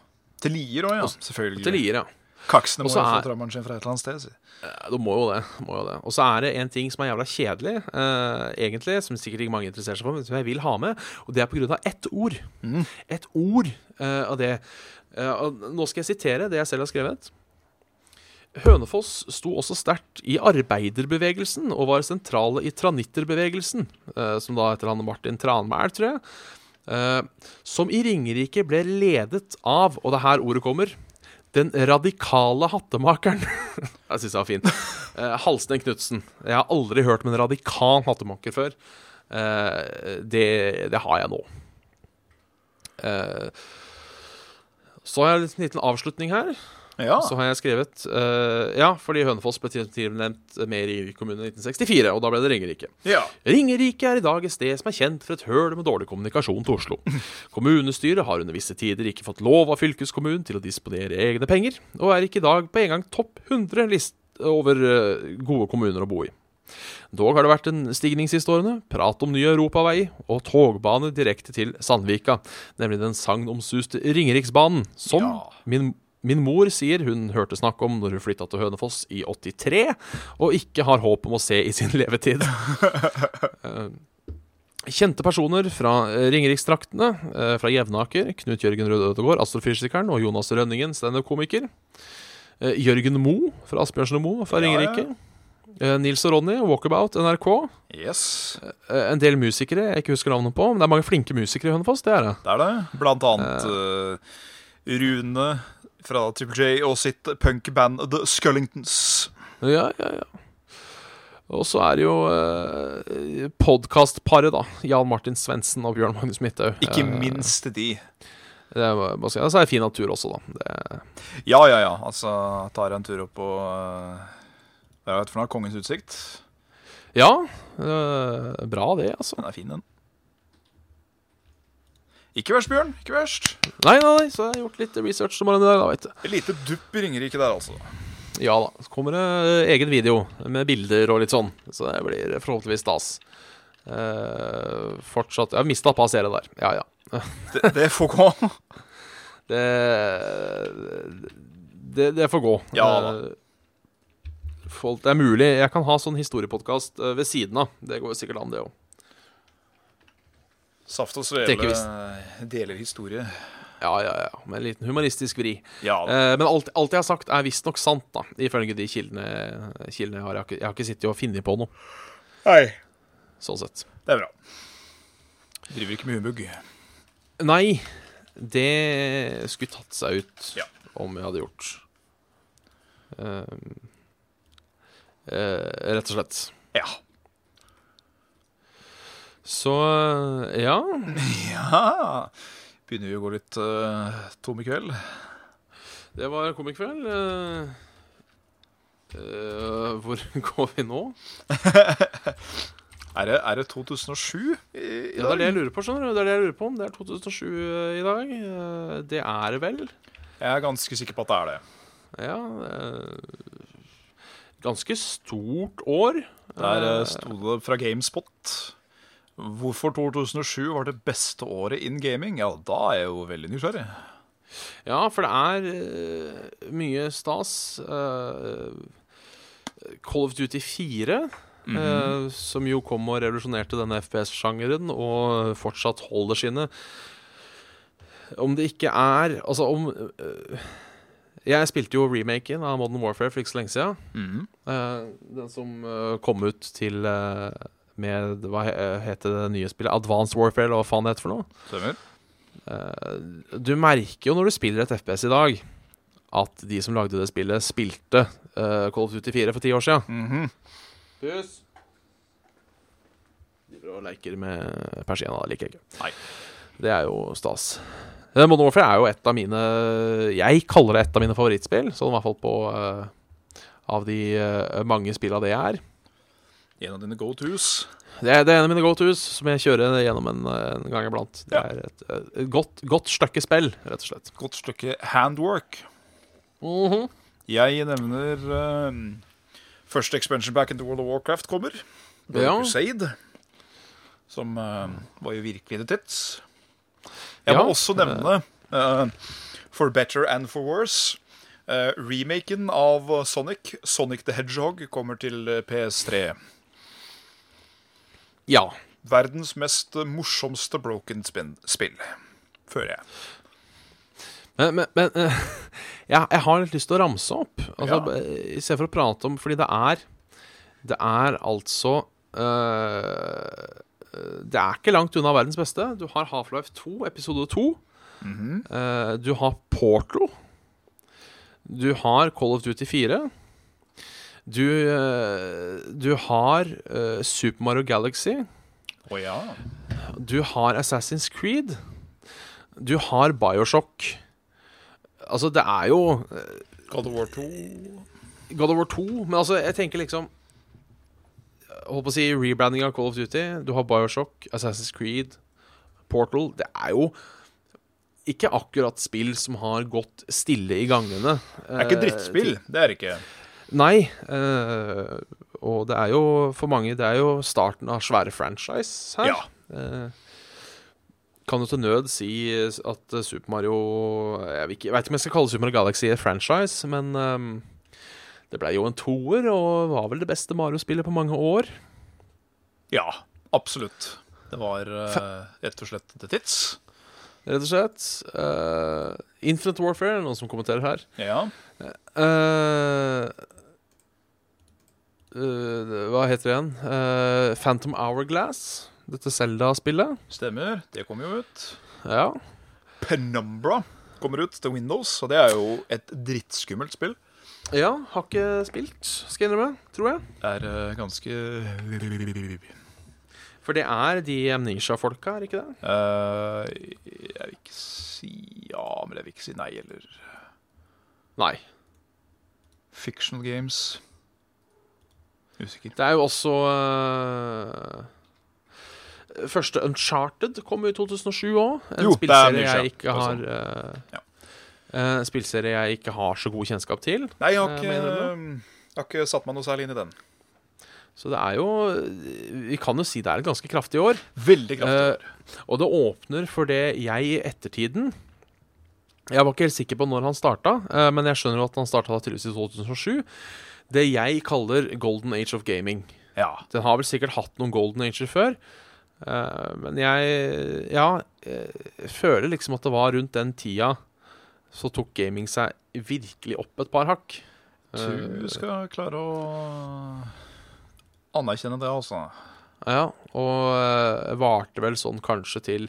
[SPEAKER 3] Til Lier òg, ja. Selvfølgelig.
[SPEAKER 2] Til Lier, ja.
[SPEAKER 3] Kaksene må
[SPEAKER 2] Og
[SPEAKER 3] jo
[SPEAKER 2] så
[SPEAKER 3] få
[SPEAKER 2] er-
[SPEAKER 3] trømmeren sin fra et eller annet sted. Si.
[SPEAKER 2] Eh, Du må jo det. Må jo det. Og så er det en ting som er jævla kjedelig, eh, egentlig, som sikkert ikke mange interesserer seg for, men som jeg vil ha med, og det er på grunn av ett ord. Et ord eh, av det. Eh, og nå skal jeg sitere det jeg selv har skrevet. Hønefoss sto også sterkt i arbeiderbevegelsen og var sentrale i tranitterbevegelsen, eh, som da heter han Martin Tranmæl, tror jeg, eh, som i Ringerike ble ledet av, og det er her ordet kommer, den radikale hattemakeren. jeg syns det var fint. Eh, Halsne Knutsen. Jeg har aldri hørt om en radikal hattemaker før. Eh, det, det har jeg nå. Eh, så har jeg en liten avslutning her.
[SPEAKER 3] Ja.
[SPEAKER 2] Så har jeg skrevet eh, Ja, fordi Hønefoss ble tilnevnt med Ringerike kommune i 1964, og da ble det Ringerike.
[SPEAKER 3] ja.
[SPEAKER 2] Ringerike er i dag et sted som er kjent for et høl med dårlig kommunikasjon til Oslo. Kommunestyret har under visse tider ikke fått lov av fylkeskommunen til å disponere egne penger, og er ikke i dag på en gang topp 100 list over eh, gode kommuner å bo i. Dog har det vært en stigning siste årene, prat om ny europavei og togbane direkte til Sandvika, nemlig den sagnomsuste Ringeriksbanen, som
[SPEAKER 3] Ja.
[SPEAKER 2] min, min mor sier hun hørte snakk om når hun flytta til Hønefoss i 83, og ikke har håp om å se i sin levetid. Eh, Kjente personer fra eh, Ringerikstraktene, eh, fra Jevnaker, Knut Jørgen Røde Ødegård, astrofysikeren, og Jonas Rønningen, standup-komiker. Eh, Jørgen Moe fra Asbjørnsen og Moe fra
[SPEAKER 3] Ja, ja.
[SPEAKER 2] Ringerike. Eh, Nils og Ronny, Walkabout, NRK.
[SPEAKER 3] Yes.
[SPEAKER 2] Eh, en del musikere jeg ikke husker navnet på, men det er mange flinke musikere i Hønefoss. det er det.
[SPEAKER 3] Det er det. Blant annet eh, Rune fra Triple J og sitt punkband The Scullingtons.
[SPEAKER 2] Ja, ja, ja. Og så er det jo eh, podkastparet, da. Jan Martin Svendsen og Bjørn Magnus Midthaug.
[SPEAKER 3] Ikke
[SPEAKER 2] Eh,
[SPEAKER 3] minst de.
[SPEAKER 2] Det er, bare å si. Og så er det fin natur også, da. Det er
[SPEAKER 3] Ja, ja, ja. Altså, tar jeg en tur opp på eh, Hva er det for noe? Kongens utsikt?
[SPEAKER 2] Ja, øh, bra det, altså.
[SPEAKER 3] Den er fin, den. Ikke verst, Bjørn. Ikke verst.
[SPEAKER 2] Nei, nei, nei, så jeg har gjort litt research som morgenen i dag, da, vet du.
[SPEAKER 3] Et lite dupp i Ringerike der, altså.
[SPEAKER 2] Ja da. Så kommer det eh, egen video med bilder og litt sånn, så det blir forhåpentligvis stas. Eh, fortsatt Jeg har mista passeret der. Ja, ja.
[SPEAKER 3] Det, det får gå.
[SPEAKER 2] Det Det, det får gå.
[SPEAKER 3] Ja da.
[SPEAKER 2] Eh, Folk, det er mulig. Jeg kan ha sånn historiepodkast eh, ved siden av. Det går jo sikkert an, det òg.
[SPEAKER 3] Saft og
[SPEAKER 2] Tenker
[SPEAKER 3] svele deler historie.
[SPEAKER 2] Ja, ja, ja. Med en liten humanistisk vri.
[SPEAKER 3] Ja, da.
[SPEAKER 2] Eh, men alt, alt jeg har sagt, er visstnok sant, da. Ifølge de kildene, kildene jeg har. Jeg har ikke, jeg har ikke sittet og funnet på noe,
[SPEAKER 3] Hei.
[SPEAKER 2] sånn sett.
[SPEAKER 3] Det er bra. Driver ikke med humbug.
[SPEAKER 2] Nei, det skulle tatt seg ut
[SPEAKER 3] Ja.
[SPEAKER 2] om jeg hadde gjort. Eh, eh, rett og slett.
[SPEAKER 3] Ja.
[SPEAKER 2] Så eh, ja.
[SPEAKER 3] ja. Begynner vi å gå litt eh, tom i kveld?
[SPEAKER 2] Det var Komikkveld. Eh, eh, hvor går vi nå?
[SPEAKER 3] Er det, er det 2007 i, i
[SPEAKER 2] Ja, det er
[SPEAKER 3] dag?
[SPEAKER 2] det jeg lurer på. skjønner du Det er det jeg lurer på om. Det er 2007 i dag. Eh, det er det vel.
[SPEAKER 3] Jeg er ganske sikker på at det er det.
[SPEAKER 2] Ja. eh, ganske stort år.
[SPEAKER 3] Der eh,
[SPEAKER 2] Eh,
[SPEAKER 3] sto det fra Gamespot. Hvorfor 2007 var det beste året in gaming? Ja, da er jeg jo veldig nysgjerrig.
[SPEAKER 2] Ja, for det er eh, mye stas. eh, Call of Duty 4, eh, som jo kom og revolusjonerte denne FPS-sjangeren, og fortsatt holder sine. Om det ikke er Altså, om eh, Jeg spilte jo remaken av Modern Warfare for ikke så lenge siden.
[SPEAKER 3] Mhm.
[SPEAKER 2] Eh, den som eh, kom ut til eh, med Hva he- eh, heter det nye spillet? Advanced Warfare, eller hva faen det heter for noe?
[SPEAKER 3] Stemmer.
[SPEAKER 2] Eh, Du merker jo når du spiller et FPS i dag, at de som lagde det spillet, spilte uh, Call of Duty 4 for ti år siden.
[SPEAKER 3] Mhm.
[SPEAKER 2] Pus! Driver og leker med persienna, det liker jeg ikke.
[SPEAKER 3] Nei.
[SPEAKER 2] Det er jo stas. Eh, Modern Warfare er jo et av mine Jeg kaller det et av mine favorittspill, sånn i hvert fall på eh, Av de eh, mange spilla det er.
[SPEAKER 3] En av dine go tos.
[SPEAKER 2] Det er, det er en av mine go-tos som jeg kjører gjennom en, en gang iblant. Det
[SPEAKER 3] Ja.
[SPEAKER 2] er et, eh, godt, godt stykke spill, rett og slett.
[SPEAKER 3] Godt stykke handwork. Mhm. Jeg nevner eh, første expansion back into World of Warcraft kommer. Blood
[SPEAKER 2] Ja.
[SPEAKER 3] Crusade. Som eh, var jo virkelig det tits. Jeg
[SPEAKER 2] Ja,
[SPEAKER 3] må også nevne eh, For Better and For Worse. Eh, remaken av Sonic, Sonic the Hedgehog, kommer til eh, PS3.
[SPEAKER 2] Ja.
[SPEAKER 3] Verdens mest eh, morsomste broken spin spill. Føler jeg.
[SPEAKER 2] Men, men, men eh, ja, jeg har litt lyst til å ramse opp. Altså,
[SPEAKER 3] Ja.
[SPEAKER 2] eh, I stedet for å prate om Fordi det er Det er altså eh, Det er ikke langt unna verdens beste. Du har Half-Life 2, episode 2.
[SPEAKER 3] Mhm.
[SPEAKER 2] Eh, du har Portro. Du har Call of Duty 4. Du, eh, du har eh, Super Mario Galaxy.
[SPEAKER 3] Å ja.
[SPEAKER 2] Du har Assassin's Creed. Du har Bioshock. Altså, det er jo eh,
[SPEAKER 3] God of War 2.
[SPEAKER 2] God of War 2, men altså, jeg tenker liksom Holdt på å si rebranding av Call of Duty. Du har Bioshock, Assassin's Creed, Portal. Det er jo ikke akkurat spill som har gått stille i gangene. Eh,
[SPEAKER 3] Det er ikke drittspill. Det er det ikke.
[SPEAKER 2] Nei. eh, og det er jo for mange Det er jo starten av svære franchise her.
[SPEAKER 3] Ja.
[SPEAKER 2] Eh, kan jo til nød si eh, at eh, Super Mario Jeg vet ikke, jeg vet ikke om jeg skal kalle Super Mario Galaxy et franchise, men ehm, det blei jo en toer, og var vel det beste Mario-spillet på mange år.
[SPEAKER 3] Ja, absolutt. Det var eh, rett og slett The Tits.
[SPEAKER 2] Rett og slett. Uh, Infinite Warfare, er det noen som kommenterer her.
[SPEAKER 3] Ja.
[SPEAKER 2] Eh, eh, hva heter det igjen? Eh, Phantom Hourglass. Dette Zelda-spillet.
[SPEAKER 3] Stemmer. Det kom jo ut.
[SPEAKER 2] Ja.
[SPEAKER 3] Penumbra kommer ut til Windows, og det er jo et drittskummelt spill.
[SPEAKER 2] ja. Har ikke spilt, skal jeg innrømme. Tror jeg.
[SPEAKER 3] Det er eh, ganske
[SPEAKER 2] For det er de Amnesia-folka, er ikke det?
[SPEAKER 3] Eh, Jeg vil ikke si ja, men jeg vil ikke si nei, eller
[SPEAKER 2] Nei.
[SPEAKER 3] Fictional Games. Usikker.
[SPEAKER 2] Det er jo også øh, Første Uncharted kom jo i 2007 òg. En
[SPEAKER 3] Jo, det er
[SPEAKER 2] spillserie
[SPEAKER 3] mye siden.
[SPEAKER 2] jeg ikke
[SPEAKER 3] Det er
[SPEAKER 2] har
[SPEAKER 3] sant.
[SPEAKER 2] eh,
[SPEAKER 3] Ja.
[SPEAKER 2] En spillserie jeg ikke har så god kjennskap til.
[SPEAKER 3] Nei, jeg har
[SPEAKER 2] Eh,
[SPEAKER 3] ikke,
[SPEAKER 2] mener du
[SPEAKER 3] jeg har ikke satt meg noe særlig inn i den.
[SPEAKER 2] Så det er jo Vi kan jo si det er et ganske kraftig år.
[SPEAKER 3] Veldig kraftig.
[SPEAKER 2] Eh, og det åpner for det jeg i ettertiden Jeg var ikke helt sikker på når han starta, eh, men jeg skjønner jo at han starta tydeligvis i 2007. Det jeg kaller golden age of gaming.
[SPEAKER 3] ja.
[SPEAKER 2] Den har vel sikkert hatt noen golden ager før. eh, men jeg ja, eh, føler liksom at det var rundt den tida så tok gaming seg virkelig opp et par hakk. Eh,
[SPEAKER 3] Du skal klare å anerkjenne det, altså.
[SPEAKER 2] Ja, og øh, varte vel sånn kanskje til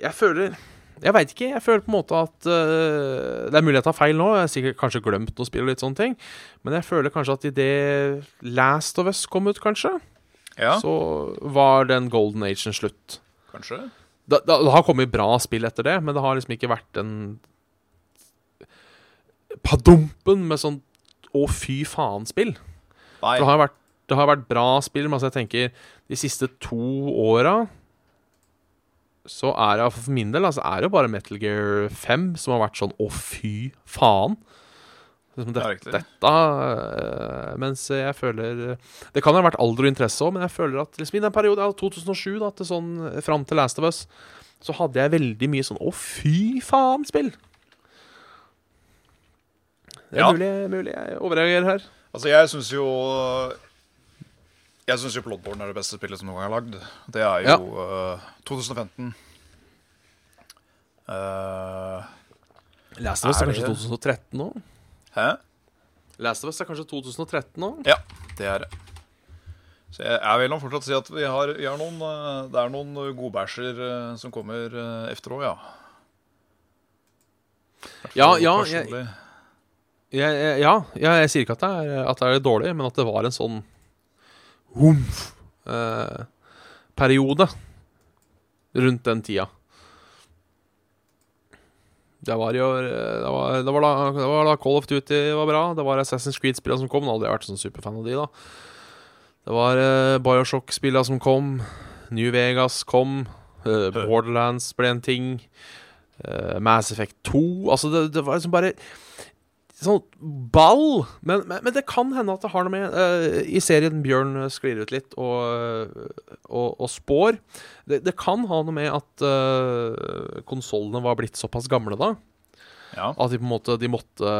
[SPEAKER 2] Jeg føler Jeg veit ikke. Jeg føler på en måte at øh, Det er mulig jeg tar feil nå, jeg har sikkert kanskje glemt å spille og litt sånne ting. Men jeg føler kanskje at idet Last of Us kom ut, kanskje,
[SPEAKER 3] Ja,
[SPEAKER 2] så var den golden agen slutt.
[SPEAKER 3] kanskje.
[SPEAKER 2] Det, det, det har kommet bra spill etter det, men det har liksom ikke vært den padumpen med sånn å, fy faen-spill.
[SPEAKER 3] Nei.
[SPEAKER 2] For det har jo vært, det har vært bra spill, men altså jeg tenker de siste to åra så er det for min del altså er det jo bare Metal Gear 5 som har vært sånn å, fy faen. Liksom det,
[SPEAKER 3] Ja, riktig.
[SPEAKER 2] dette øh, Mens jeg føler Det kan jo ha vært alder og interesse òg, men jeg føler at liksom i den perioden, ja, 2007 da, til sånn fram til Last of Us, så hadde jeg veldig mye sånn å, fy faen-spill. Det er
[SPEAKER 3] Ja.
[SPEAKER 2] mulig, mulig jeg overreagerer her.
[SPEAKER 3] Altså, jeg syns jo Jeg syns jo Bloodborne er det beste spillet som noen gang er lagd. Det er jo eh, 2015. Eh,
[SPEAKER 2] Last of Us er
[SPEAKER 3] Er det
[SPEAKER 2] kanskje
[SPEAKER 3] det?
[SPEAKER 2] 2013 nå?
[SPEAKER 3] hæ?
[SPEAKER 2] Last of Us er kanskje 2013 nå?
[SPEAKER 3] Ja, det er det. Så jeg, jeg vil nå fortsatt si at vi har, vi har noen eh, Det er noen godbæsjer eh, som kommer eh, efter òg, ja.
[SPEAKER 2] Ja,
[SPEAKER 3] Og
[SPEAKER 2] ja, jeg,
[SPEAKER 3] personlig-
[SPEAKER 2] jeg, jeg- ja, jeg, jeg sier ikke at det, er, at det er dårlig, men at det var en sånn humf eh, periode rundt den tida. Det var jo eh, det var, det, var da, det var da Call of Duty var bra, det var Assassin's Creed-spillene som kom. Nå hadde jeg vært sånn superfan av de, da. Det var eh, Bioshock-spillene som kom. New Vegas kom. eh, Borderlands ble en ting. eh, Mass Effect 2 Altså, det, det var liksom bare sånn ball. Men, men, men det kan hende at det har noe med eh, I serien Bjørn sklir ut litt og, og, og spår. Det, det kan ha noe med at uh, konsollene var blitt såpass gamle da.
[SPEAKER 3] ja.
[SPEAKER 2] At de på en måte de måtte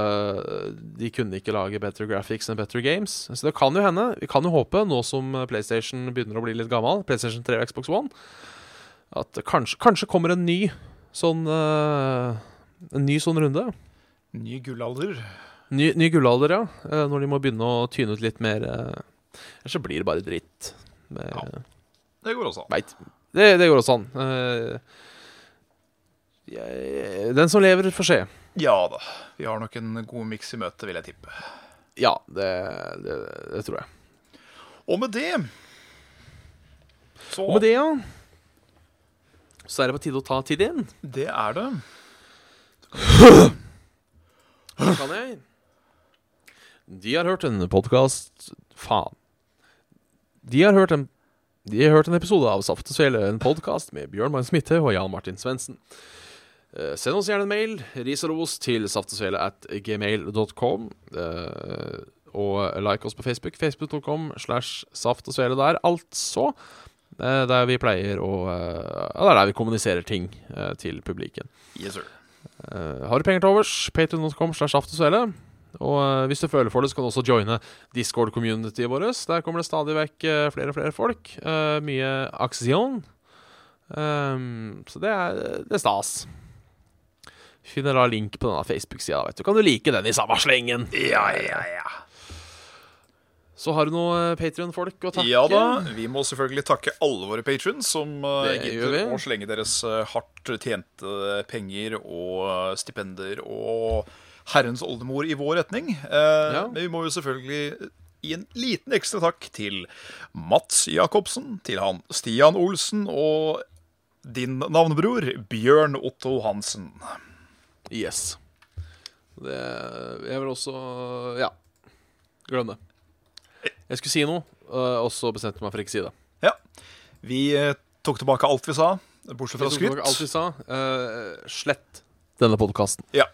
[SPEAKER 2] De kunne ikke lage better graphics enn better games. Så det kan jo hende. Vi kan jo håpe, nå som PlayStation begynner å bli litt gammel, PlayStation 3 og Xbox One, at kanskje, kanskje kommer en ny sånn eh, En ny sånn runde.
[SPEAKER 3] Ny gullalder.
[SPEAKER 2] Ny, ny gullalder, ja. Eh, Når de må begynne å tyne ut litt mer. eh, Ellers så blir det bare dritt. Det,
[SPEAKER 3] Ja. Det går også an.
[SPEAKER 2] Veit. Det, det går også an. Eh, jeg- Den som lever, får se.
[SPEAKER 3] Ja da. Vi har nok en god miks i møte, vil jeg tippe.
[SPEAKER 2] Ja, det, det, det tror jeg.
[SPEAKER 3] Og med det Så
[SPEAKER 2] Og med det, ja, så er det på tide å ta tid inn.
[SPEAKER 3] det er det.
[SPEAKER 2] Kan jeg? De har hørt en podkast Faen. De har hørt en de har hørt en episode av Saft og Svele, en podkast med Bjørn Magnus Midthaug og Jan Martin Svendsen. Eh, send oss gjerne en mail, ris og ros, til saftogsvele at gmail.com. Eh, og like oss på Facebook, facebook.com slash saft og svele der, altså. Eh, der vi pleier å eh, ja, Det er der vi kommuniserer ting eh, til publikum.
[SPEAKER 3] Yes, sir.
[SPEAKER 2] Eh, har du penger til overs, patreon.com slash aftosvele. Og eh, hvis du føler for det, så kan du også joine Discord-communityet vårt. Der kommer det stadig vekk eh, flere og flere folk. Eh, mye aksjon. Ehm, så det er, det er stas. Finner da link på denne Facebook-sida. vet Du kan du like den i samme slengen.
[SPEAKER 3] Ja, ja, ja.
[SPEAKER 2] Så har du noe Patrion-folk å takke.
[SPEAKER 3] Ja da. Vi må selvfølgelig takke alle våre patrons som uh,
[SPEAKER 2] Det gjør
[SPEAKER 3] gidder
[SPEAKER 2] vi.
[SPEAKER 3] å slenge deres eh, hardt tjente eh, penger og eh, stipender og herrens oldemor i vår retning. Eh,
[SPEAKER 2] Ja.
[SPEAKER 3] Men vi må jo selvfølgelig gi en liten ekstra takk til Mats Jacobsen, til han Stian Olsen og din navnebror Bjørn Otto Hansen.
[SPEAKER 2] Yes. Det, jeg vil også Ja. Glem det. Jeg skulle si noe, eh, og så bestemte jeg meg for ikke å si det.
[SPEAKER 3] Ja. Vi eh, tok tilbake alt vi sa, bortsett fra
[SPEAKER 2] Alt
[SPEAKER 3] skryt.
[SPEAKER 2] vi sa. eh, slett denne podkasten.
[SPEAKER 3] Ja.